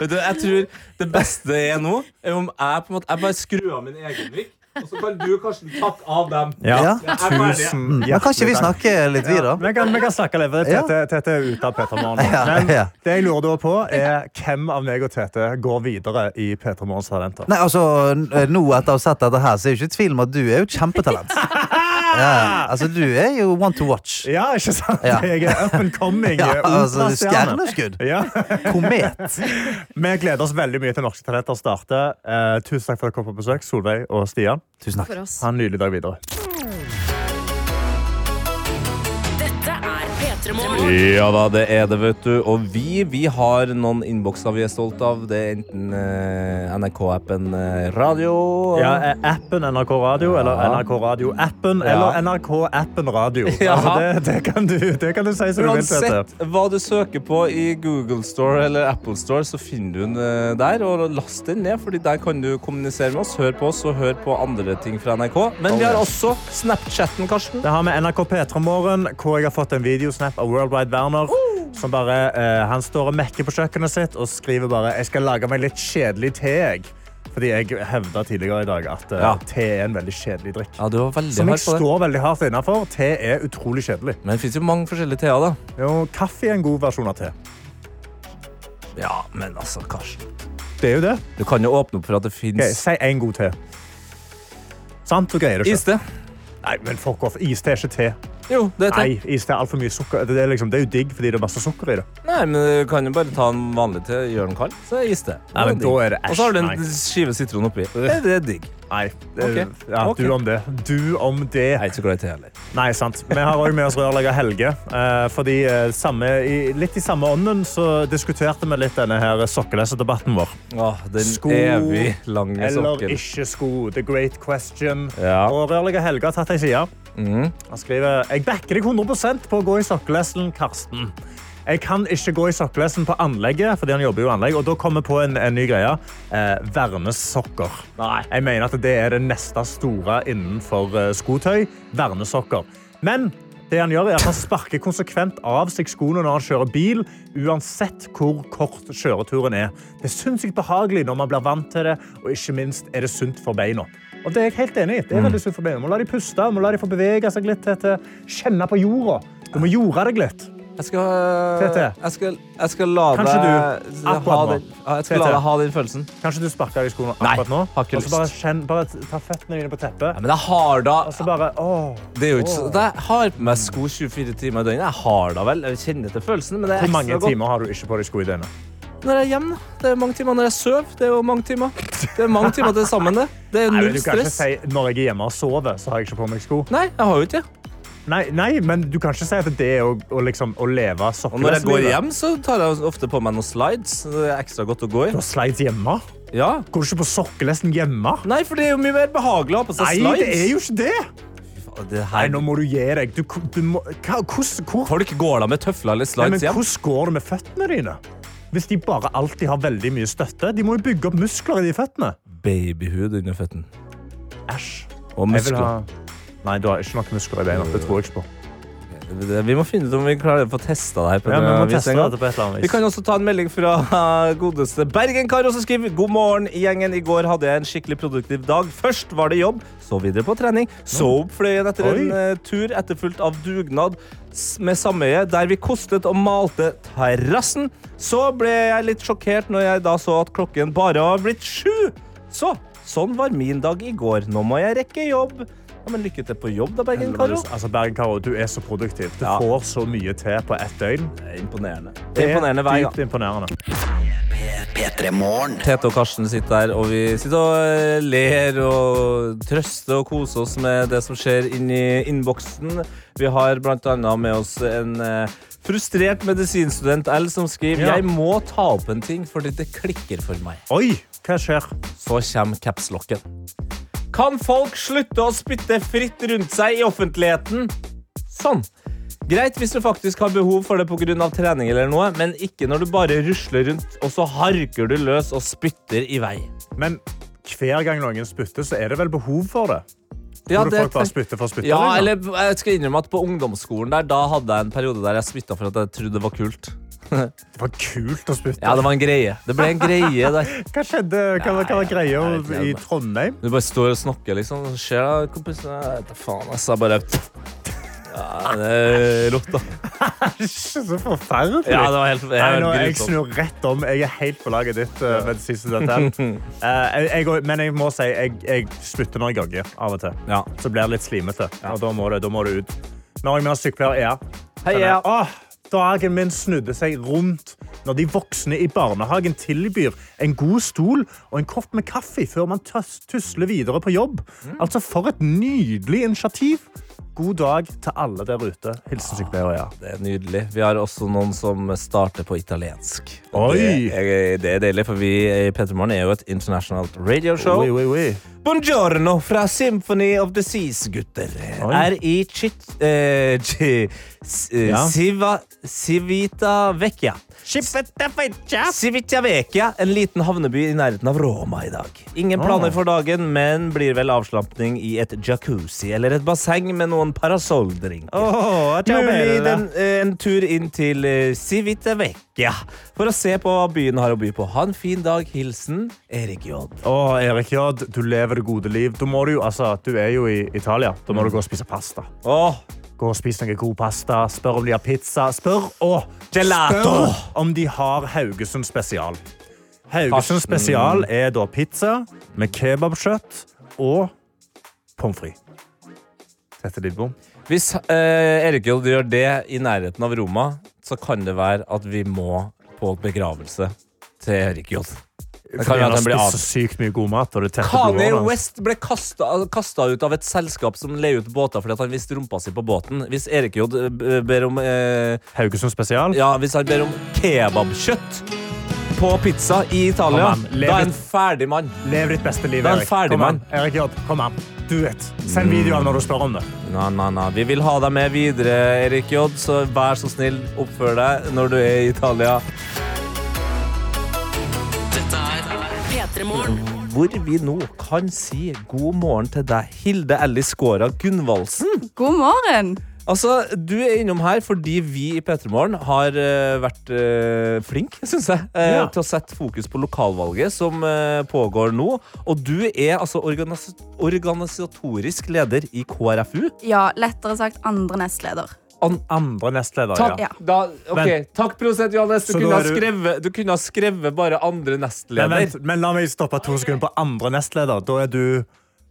Vet du, jeg tror det beste er nå, er om jeg på en måte Jeg bare skrur av min egen mic, og så kan du, Karsten, takke av dem. Ja. Jeg er ferdig. Mm. Men kan ikke vi snakke litt, vi, da? Vi kan, vi kan snakke litt. for Tete, Tete er ute av Peter Morgen. Ja, Men ja. det jeg lurer da på, er hvem av meg og Tete går videre i Peter Morgens talenter? Nei, altså, n- nå etter å ha sett dette her, så er det jo ikke tvil om at du er jo et kjempetalent. Ja, altså, du er jo one to watch. Ja, ikke sant? Ja. Jeg er up and coming. Ja, altså, operastjerne. stjerneskudd. Ja. Komet. Vi gleder oss veldig mye til Norske Talenter starter. Eh, tusen takk for at dere kom på besøk, Solveig og Stian. Tusen takk. For oss. Ha en nydelig dag videre. Dette er P3 Morgen. Ja da, det er det, vet du. Og vi, vi har noen innbokser vi er stolt av. Det er enten eh, NRK-appen eh, Radio Ja, eh, appen NRK Radio, eller Ja. NRK Radio-appen, Ja. eller NRK-appen Radio. Ja. Altså, det, det, kan du, det kan du si som du vil. Tete. Uansett hva du søker på i Google Store eller Apple Store, så finner du den eh, der. Og last den ned, fordi der kan du kommunisere med oss. Hør på oss, og hør på andre ting fra NRK. Men vi har også Snapchatten, Karsten. Uh! Det har med NRK P3 Morgen, hvor jeg har fått en videosnap av Worldwide Werner. Som bare, eh, han står og mekker på kjøkkenet sitt og skriver bare «Jeg skal lage meg litt kjedelig te, jeg». Fordi jeg hevda tidligere i dag at eh, Ja. te er en veldig kjedelig drikk. veldig Som jeg hard på det. står veldig hardt innenfor. Te er utrolig kjedelig. Men det finnes jo mange forskjellige teer, da. Jo, kaffe er en god versjon av te. Ja, men altså, Karsten. Det er jo det. Du kan jo åpne opp for at det fins Ok, si en god te. Sant, du greier det ikke. Iste. Nei, men fuck off. Iste er ikke te. Jo, det er te. Nei, iste er alt for mye sukker. Det er, liksom, det er jo digg fordi det er masse sukker i det. Nei, men du kan jo bare ta en vanlig te, gjøre den kald, så er is det. Nei, men da er det Og så har du en æsj, nei. skive sitron oppi. Det det er digg. Nei, Ok. Ja, Ok. du om det. Du om det. Jeg er ikke så glad i te heller. Nei, sant. Vi har også med oss rørlegger Helge. eh, Fordi eh, samme, i, litt i samme ånden så diskuterte vi litt denne her sokkelesedebatten vår. Åh, den evig lange eller sokken. ikke sko. The great question. Ja. Og rørlegger Helge har tatt ei side. Mhm. Han skriver «Jeg backer deg 100 på å gå i sokkelesten, Karsten». Jeg kan ikke gå i sokkelesten på anlegget, fordi han jobber jo i anlegg, og da kommer jeg på en, en ny greie. Eh, vernesokker. Jeg mener at det er det neste store innenfor eh, skotøy. Vernesokker. Men det han gjør er at han sparker konsekvent av seg skoene når han kjører bil, uansett hvor kort kjøreturen er. Det er sinnssykt behagelig når man blir vant til det, og ikke minst er det sunt for beina. Og det er jeg helt enig i. Mm. Det er veldig sunt for beina. Må la de puste, må la de få bevege seg litt, Tete. kjenne på jorda. Du må jorde deg litt. Jeg skal, eh, Tete. Jeg skal, jeg skal la Kanskje deg du ha akkurat nå. den- Ja, Jeg skal la Tete. deg ha den følelsen. Kanskje du sparker deg i skoene akkurat nå? har ikke Og så Bare, kjenn, bare ta føttene dine på teppet. Men jeg har da Og så bare, åh. det er jo ikke, så- Altså, åh. jeg har på meg sko 24 timer i døgnet. Jeg har da vel. Jeg kjenner til følelsen, men det er Hvor mange ekstra godt. timer har du ikke på deg sko i døgnet? Når jeg er hjemme, da. det er mange timer. Når jeg sover, det er jo mange timer. Det er mange timer til sammen, det. Det er Nei, men null du kan ikke stress. si når jeg er hjemme og sover, så har jeg ikke på meg sko. Nei, jeg har jo ikke. Nei, nei men du kan ikke si at det er å, å, liksom, å leve Og når jeg går sokkelesebilen. hjem, så tar jeg ofte på meg noen slides. så Det er ekstra godt å gå i. Du har slides hjemme? Ja. Går du ikke på sokkelesten hjemme? Nei, for det er jo mye mer behagelig å ha på seg Nei, slides. det er jo ikke det! Nei, nå må du gi deg. Du, du må, hva, hvordan, hvor, Folk går da med tøfler eller Nei, men slides hjem. hvordan går det med føttene dine? Hvis de bare alltid har veldig mye støtte. De må jo bygge opp muskler i de føttene. Babyhud under føtten. Æsj. Og Jeg vil muskler. ha- Nei, du har ikke nok muskler i beina. Det tror jeg ikke på. Det- Vi må finne ut om vi klarer å få testa det her. på Ja, en vi må vis teste en gang. det på et eller annet vis. Vi kan også ta en melding fra godeste Bergen-Karo som skriver God morgen, gjengen. I går hadde jeg en skikkelig produktiv dag. Først var det jobb, så videre på trening. Så opp fløyen etter en Oi. eh, tur etterfulgt av dugnad s- med sameie, der vi kostet og malte terrassen. Så ble jeg litt sjokkert når jeg da så at klokken bare var blitt sju. Så sånn var min dag i går. Nå må jeg rekke jobb. Ja, men lykke til på jobb, da, Bergen-Karo. Altså, Bergen-Karo, du er så produktiv. Du Ja. får så mye til på ett døgn. Det er imponerende. Det Det er er imponerende hver gang. dypt imponerende. Tete og Karsten sitter der, og vi sitter og eh, ler og trøster og koser oss med det som skjer inni innboksen. Vi har blant annet med oss en eh, frustrert medisinstudent L som skriver Ja. Jeg må ta opp en ting fordi det klikker for meg. Oi, hva skjer? Så kommer capslocken. Kan folk slutte å spytte fritt rundt seg i offentligheten? Sånn. Greit hvis du faktisk har behov for det pga. trening, eller noe, men ikke når du bare rusler rundt og så harker du løs og spytter i vei. Men hver gang noen spytter, så er det vel behov for det? Ja, Tror du det folk bare tenk- spytter for å spytte? Ja, liksom? eller jeg skal innrømme at På ungdomsskolen der, da hadde jeg en periode der jeg spytta for at jeg trodde det var kult. Det var kult å spytte. Ja, det var en greie. Det ble en greie der. Hva skjedde? Hva, var- hva var greia i Trondheim? Du bare står og snakker, liksom. Hva skjer da, kompis? Jeg vet da faen, ass. Jeg bare Ja, det er rått, da. Ikke så forferdelig. Ja, det var helt- Nei, nå, jeg grusomt. snur rett om. Jeg er helt på laget ditt. eh, med det siste dette her. Eh, jeg, jeg, men jeg må si jeg, jeg spytter når jeg jogger av og til. Så blir det litt slimete. Og da må det, da må det ut. Vi har også med oss sykepleier Ea. Hei, Denne- Ea. Åh, Dagen min snudde seg rundt når de voksne i barnehagen tilbyr en god stol og en kopp med kaffe før man tøs- tusler videre på jobb. Mm. Altså, For et nydelig initiativ! God dag til alle der ute. Hilsen sykepleier Ea. Det er nydelig. Vi har også noen som starter på italiensk. Og Oi! Det er, det er deilig, for vi i Petermorgen er jo et internasjonalt radioshow. Oi, oi, oi. Buongiorno fra Symphony of the Seas, gutter. Oi. Er i Chit... eh, chi- s- eh, Ja. Siva, Civita Vecchia. Civitavecchia, en liten havneby i nærheten av Roma i dag. Ingen planer for dagen, men blir vel avslapning i et jacuzzi eller et basseng med noen parasolldrinker. Åh, ciao, Mulig Bella. den, eh, en tur inn til eh, Civitavecchia for å se på hva byen har å by på. Ha en fin dag. Hilsen Erik J. Å, Erik Jod, du lever det gode liv. Da må du, jo- altså, du er jo i Italia. Da må du gå og spise pasta. Gå og spis noe god pasta. Spør om de har pizza. Spør og Gelato. Spør om de har Haugesund spesial. Haugesund spesial er da pizza med kebabkjøtt og pommes frites. Dette er ditt bom. Hvis eh, Erik Jold gjør det i nærheten av Roma, så kan det være at vi må på begravelse til Erik Jold. Det Fordi kan være han har at han blir spist av. så sykt mye god mat. Og det tetter Kanye blodårene hans. West ble kasta ut av et selskap som leier ut båter fordi at han viste rumpa si på båten. Hvis Erik J b- ber om eh, Haugesund spesial? Ja, hvis han ber om kebabkjøtt på pizza i Italia, Kom an, lev da er ditt- han ferdig mann. Lev ditt beste liv, Da er han Erik. ferdig Kom an, mann. Mm. Erik J, kom an. Du vet. Send video av når du spør om det. Na, na, na. Vi vil ha deg med videre, Erik J, så vær så snill, oppfør deg når du er i Italia. Dette er P3morgen. Hvor vi nå kan si god morgen til deg, Hilde Ellis Skåra Gunvaldsen. God morgen. Altså, Du er innom her fordi vi i P3 Morgen har eh, vært uh, flink, syns jeg, eh, Ja. til å sette fokus på lokalvalget som eh, pågår nå. Og du er altså organis organisatorisk leder i KrFU. Ja, lettere sagt andre nestleder. An andre nestleder, Takk, ja. da, ok, Men- takk prosent, Johannes. Du Så kunne, da ha er du- skrevet, du kunne ha skrevet bare andre Men, nestleder. vent, men la meg stoppe to sekunder på andre nestleder. Da er du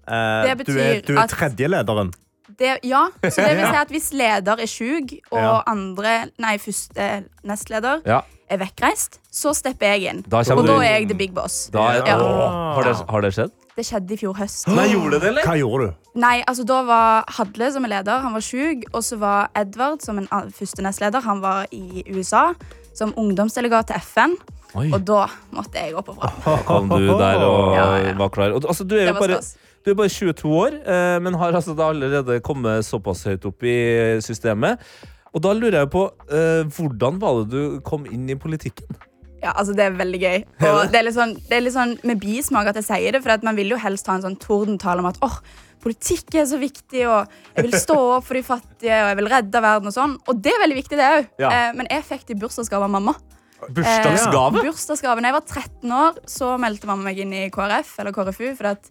eh, Det Du er, betyr du er at- tredjelederen. Det, ja, så det vil si at hvis leder er sjuk, og Ja. andre, nei, første eh, nestleder Ja. er vekkreist, så stepper jeg inn. Da kommer og da du inn. er jeg the big boss. Da er, Ja. Åh, har, det, har det skjedd? Det skjedde i fjor høst. det, eller? Hva gjorde du? Nei, altså Da var Hadle som er leder, han var sjuk. Og så var Edvard som en an- første nestleder, han var i USA som ungdomsdelegat til FN. Oi. Og da måtte jeg opp og fram. kom du der og var klar. Og, altså, du, er jo Det var bare, stas. du er bare 22 år, eh, men har altså da allerede kommet såpass høyt opp i systemet. Og da lurer jeg på, eh, hvordan var det du kom inn i politikken? Ja, altså Det er veldig gøy. Og det er litt sånn, det er litt sånn med bismak at jeg sier det, for at man vil jo helst ha en sånn tordentale om at åh, politikk er så viktig, og jeg vil stå opp for de fattige, og jeg vil redde verden og sånn. Og det er veldig viktig, det òg. Ja. Eh, men jeg fikk det i bursdagsgave av mamma. Bursdagsgave? Eh, bursdagsgave. Da jeg var 13 år, så meldte mamma meg inn i KrF, eller KrFU, for at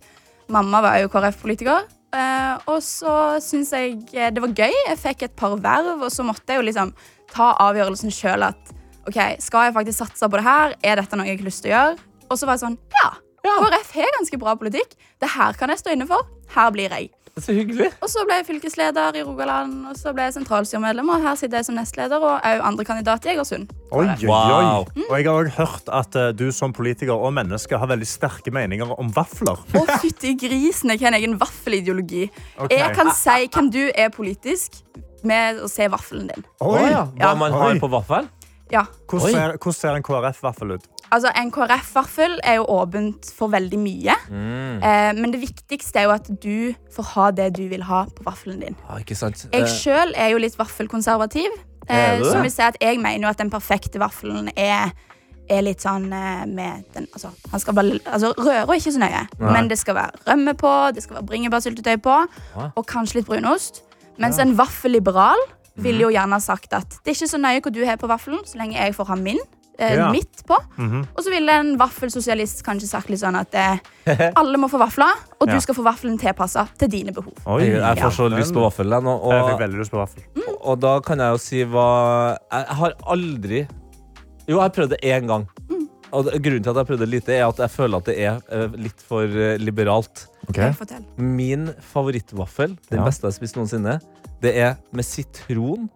mamma var jo KrF-politiker. Eh, og så syns jeg eh, det var gøy. Jeg fikk et par verv, og så måtte jeg jo liksom ta avgjørelsen sjøl at OK, skal jeg faktisk satse på det her? Er dette noe jeg har lyst til å gjøre? Og så var jeg sånn Ja, KrF har ganske bra politikk. Det her kan jeg stå inne for. Her blir jeg. Så hyggelig. Og så ble jeg fylkesleder i Rogaland, og så ble jeg sentralstyremedlem, og her sitter jeg som nestleder og òg andre kandidat i Egersund. Oi, oi, oi. Wow. Og jeg har også hørt at eh, du som politiker og menneske har veldig sterke meninger om vafler. Å, fytti grisen, jeg har en egen vaffelideologi. Ok. Jeg kan si hvem du er politisk med å se vaffelen din. Å ja. Hva Ja. man Oi. har på vaffel? Ja. Hvordan ser, hvordan ser en KrF-vaffel ut? Altså, En KrF-vaffel er jo åpent for veldig mye. Eh, men det viktigste er jo at du får ha det du vil ha på vaffelen din. Ja, ikke sant? Eh, Jeg sjøl er jo litt vaffelkonservativ. Eh, Er du som det? vil si at jeg mener jo at den perfekte vaffelen er, er litt sånn eh, med den, altså, han skal bare, altså, Røra ikke så nøye, Nei. men det skal være rømme på, det skal være bringebærsyltetøy på, Hva? og kanskje litt brunost. Mens Ja. en vaffelliberal ville jo Mhm. gjerne ha sagt at det er ikke så nøye hva du har på vaffelen, så lenge jeg får ha min. Eh, Ja. Mitt på. Mhm. Og så ville en vaffelsosialist kanskje sagt litt sånn at eh, alle må få vafler, og du Ja. skal få vaffelen tilpassa til dine behov. jeg, jeg får så Ja. lyst på vaffel. jeg, nå, og, Jeg fikk veldig lyst på vaffel. Og, og da kan jeg jo si hva Jeg jeg har aldri Jo, jeg har prøvd det én gang. Mm. Og det- grunnen til at jeg prøvde lite, er at jeg føler at det er eh, litt for eh, liberalt. Ok. Fortell. Min favorittvaffel, den Ja. beste jeg har spist noensinne, det er med sitron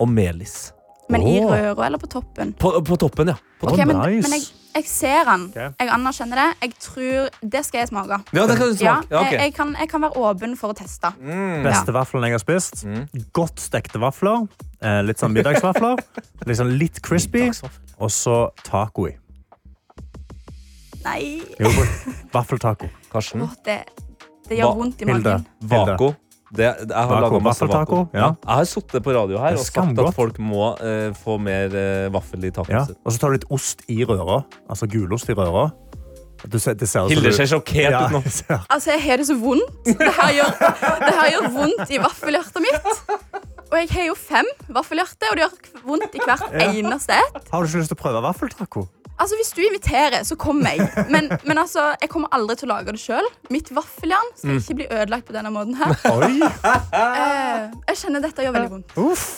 og melis. Men i Åh. røra eller på toppen? På, på toppen, ja. På Ok, toppen. men, men jeg, jeg ser den. Ok. Jeg anerkjenner det. Jeg tror Det skal jeg smake. Ja, det kan du smake. Ja, ok. jeg, jeg, kan, jeg kan være åpen for å teste. Mm. Ja. Beste vaffelen jeg har spist. Godt stekte vafler. eh, Litt sånn middagsvafler. Litt sånn litt crispy. Og så taco i. Nei, Jo, Vaffeltaco. Karsten. det, det gjør vondt i magen. Vaco. Det, jeg har Taco, laget masse vaffeltaco, vakuum. ja. Jeg har sittet på radio her Det er og sagt at skamgodt. folk må eh, få mer eh, vaffel i tacoen Ja. sin. Og så tar du litt ost i røra. Altså gulost i røra. Du ser- det ser ut som Hilde du- ser sjokkert Ja, ut nå. ser- Altså, jeg har det så vondt. Det her gjør, det her gjør vondt i vaffelhjertet mitt. Og jeg har jo fem vaffelhjerte, og det gjør vondt i hvert Ja. eneste ett. Har du ikke lyst til å prøve vaffeltaco? Altså, Hvis du inviterer, så kommer jeg. Men, men altså, jeg kommer aldri til å lage det sjøl. Mitt vaffeljern skal Mm. ikke bli ødelagt på denne måten her. Eh, jeg kjenner dette gjør veldig vondt.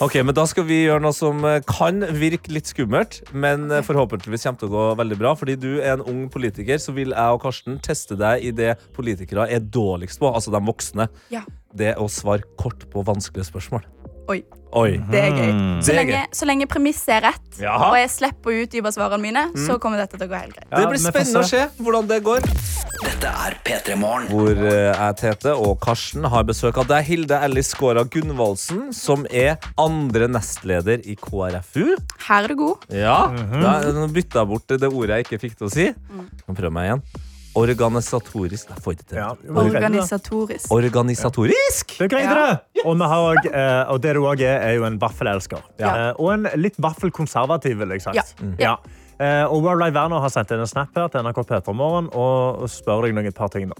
Ok, men Da skal vi gjøre noe som eh, kan virke litt skummelt, men eh, forhåpentligvis kommer til å gå veldig bra. Fordi du er en ung politiker, så vil jeg og Karsten teste deg i det politikere er dårligst på, altså de voksne. Ja. Det å svare kort på vanskelige spørsmål. Oi. Oi. Det er gøy. Så Det er lenge, gøy. så lenge premisset er rett, Jaha. og jeg slipper å utdype svarene mine, Mm. så kommer dette til å gå helt greit. Det blir spennende å se hvordan det går. Dette er P3 Morgen. Hvor eh, jeg, Tete og Karsten har besøk av deg, Hilde Ellis Skåra Gunvaldsen, som er andre nestleder i KrFU. Her er du god. Ja, Mhm. da- Nå bytta jeg bort det ordet jeg ikke fikk til å si. Nå prøver jeg meg igjen. Organisatorisk. Jeg får det til. Organisatorisk. Organisatorisk! Det greide Ja. det! Og, vi har også, eh, og det du òg er, er jo en vaffelelsker. Ja. Eh, Og en litt vaffelkonservativ, vil jeg si. Ja. Ja. Eh, Og World Live Werner har sendt inn en snap her til NRK P3 Morgen og og spør deg noen et par ting. da.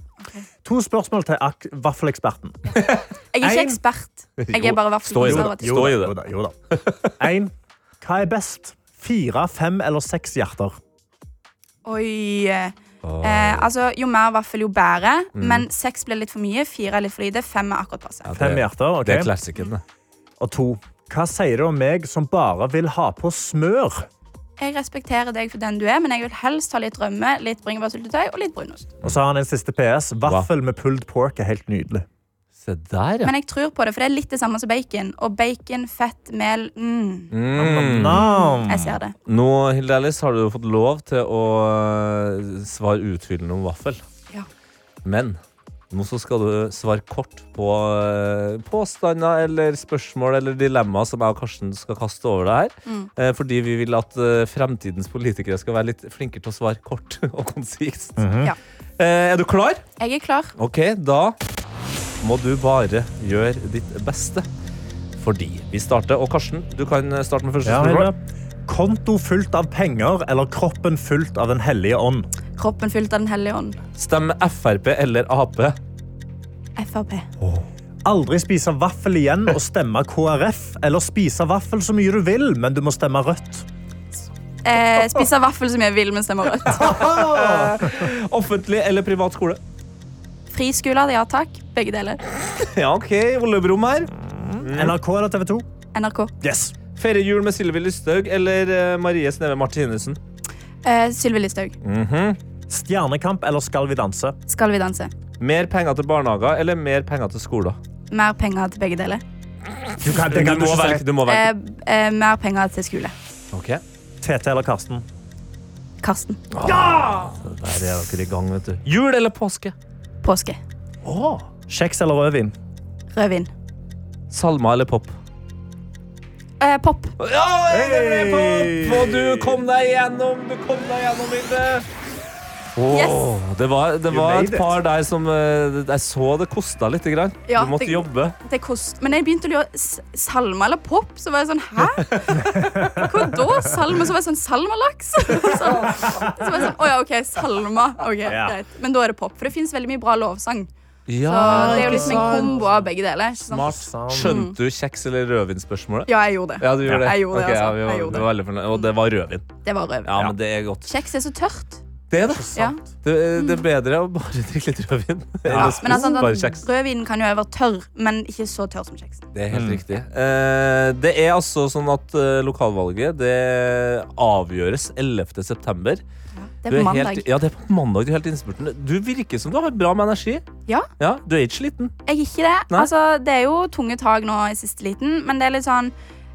To spørsmål til ak- vaffeleksperten. Jeg er ikke En- ekspert. Jeg er bare vaffelkonservativ. Jo da, jo da, jo da, jo da. En, Hva er best? Fire, fem eller seks hjerter? Oi. Eh, altså, jo mer vaffel, jo bedre. Mm. Men seks blir litt for mye, fire er litt for lite, fem er akkurat passe. Fem hjerter, ok. det er klassikeren, det. Og to. Hva sier det om meg som bare vil ha på smør? Jeg respekterer deg for den du er, men jeg vil helst ha litt rømme, litt bringebærsyltetøy og litt brunost. Og så har han en siste PS. Vaffel med pulled pork er helt nydelig. Se der, Men jeg tror på det, for det er litt det samme som bacon. Og bacon, fett, mel mm. Mm. Jeg ser det. Nå Hilde Ellis, har du fått lov til å eh, svare utfyllende om vaffel. Ja. Men nå så skal du svare kort på eh, påstander eller spørsmål eller dilemmaer som jeg og Karsten skal kaste over deg her. Mm. Eh, Fordi vi vil at eh, fremtidens politikere skal være litt flinkere til å svare kort og konsist. Ja. Eh, Er du klar? Jeg er klar. Ok, da må du bare gjøre ditt beste. Fordi vi starter. Og Karsten, du kan eh, starte med første Ja, spørsmål. Konto fullt av penger eller kroppen fullt av Den hellige ånd? Kroppen fylt av Den hellige ånd. Stem Frp eller Ap. Frp. Aldri spise vaffel igjen og stemme KrF, eller spise vaffel så mye du vil, men du må stemme rødt. Eh, Spise vaffel som jeg vil, men stemmer rødt. Offentlig eller privat skole? Friskoler, ja takk. Begge deler. Ja, OK. Ollebrom her. Mm. NRK eller TV 2? NRK. Yes. Feire jul med Sylvi Lysthaug eller eh, Marie Sneve Martinussen? Eh, Sylvi Listhaug, Stjernekamp eller Skal vi danse? skal vi danse? Mer penger til barnehager eller mer penger til skoler? Mer penger til begge deler. Du, kan, det kan Du må ikke si. velge, du må velge. Eh, eh, mer penger til skole. Ok. Tete eller Karsten? Karsten. Der er dere i gang, vet du. Jul eller påske? Påske. Kjeks eller rødvin? Rødvin. Salmer eller pop? Eh, pop. Ja, det ble pop! Og du kom deg igjennom, du kom deg igjennom, Hilde. Åh, Det var, det You var made et par der som eh, Jeg så det kosta litt. Grann. Ja, du måtte det- jobbe. Det kost. Men jeg begynte å lure s- Salma eller pop? Så var jeg sånn Hæ? Hva da? Salma? Så var jeg sånn Salmalaks? Så, så var jeg sånn Å ja, OK. Salma. Ok, Ja. Greit. Men da er det pop. For det fins veldig mye bra lovsang. Så Ja, det er jo ikke liksom en sant. kombo av begge deler. Ikke sant? Smart. Skjønte du kjeks- eller rødvinspørsmålet? Ja, jeg gjorde det. Ja, du gjorde det. Jeg gjorde det, Ok, ja, altså. vi Jeg var, gjorde vi var veldig fornøyd. Og det var rødvin. Det var rødvin. Ja, men det er godt. Kjeks er så tørt. Det er det. Ja. Det, det er bedre å bare drikke litt rødvin. Ja, Eller men altså, bare kjeks. den, rødvinen kan jo være tørr, men ikke så tørr som kjeksen. Det er helt riktig. Eh, det er altså sånn at eh, lokalvalget det avgjøres 11. september. det er Du på mandag. Helt, ja, det er på mandag. Du er helt innspurten. Du virker som du har bra med energi. Ja, Ja, Du er ikke sliten. jeg er ikke det. Nei. Altså, det er jo tunge tak nå i siste liten, men det er litt sånn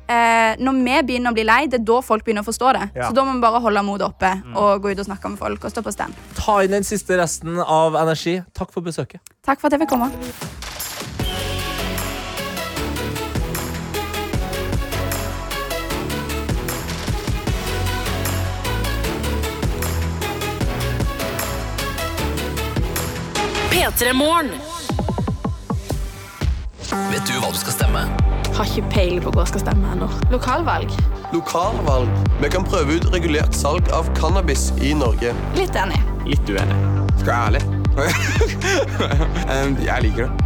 eh, Når vi begynner å bli lei, det er da folk begynner å forstå det. Ja. Mm. Så da må vi bare holde motet oppe og gå ut og snakke med folk og stå på stand. Ta inn den siste resten av energi. Takk for besøket. Takk for at jeg fikk komme. P3 Morgen. Vet du hva du skal stemme? Har ikke peiling på hva jeg skal stemme ennå. Lokalvalg? Lokalvalg. Vi kan prøve ut regulert salg av cannabis i Norge. Litt enig. Litt uenig. Skal jeg være ærlig? Em, jeg liker det.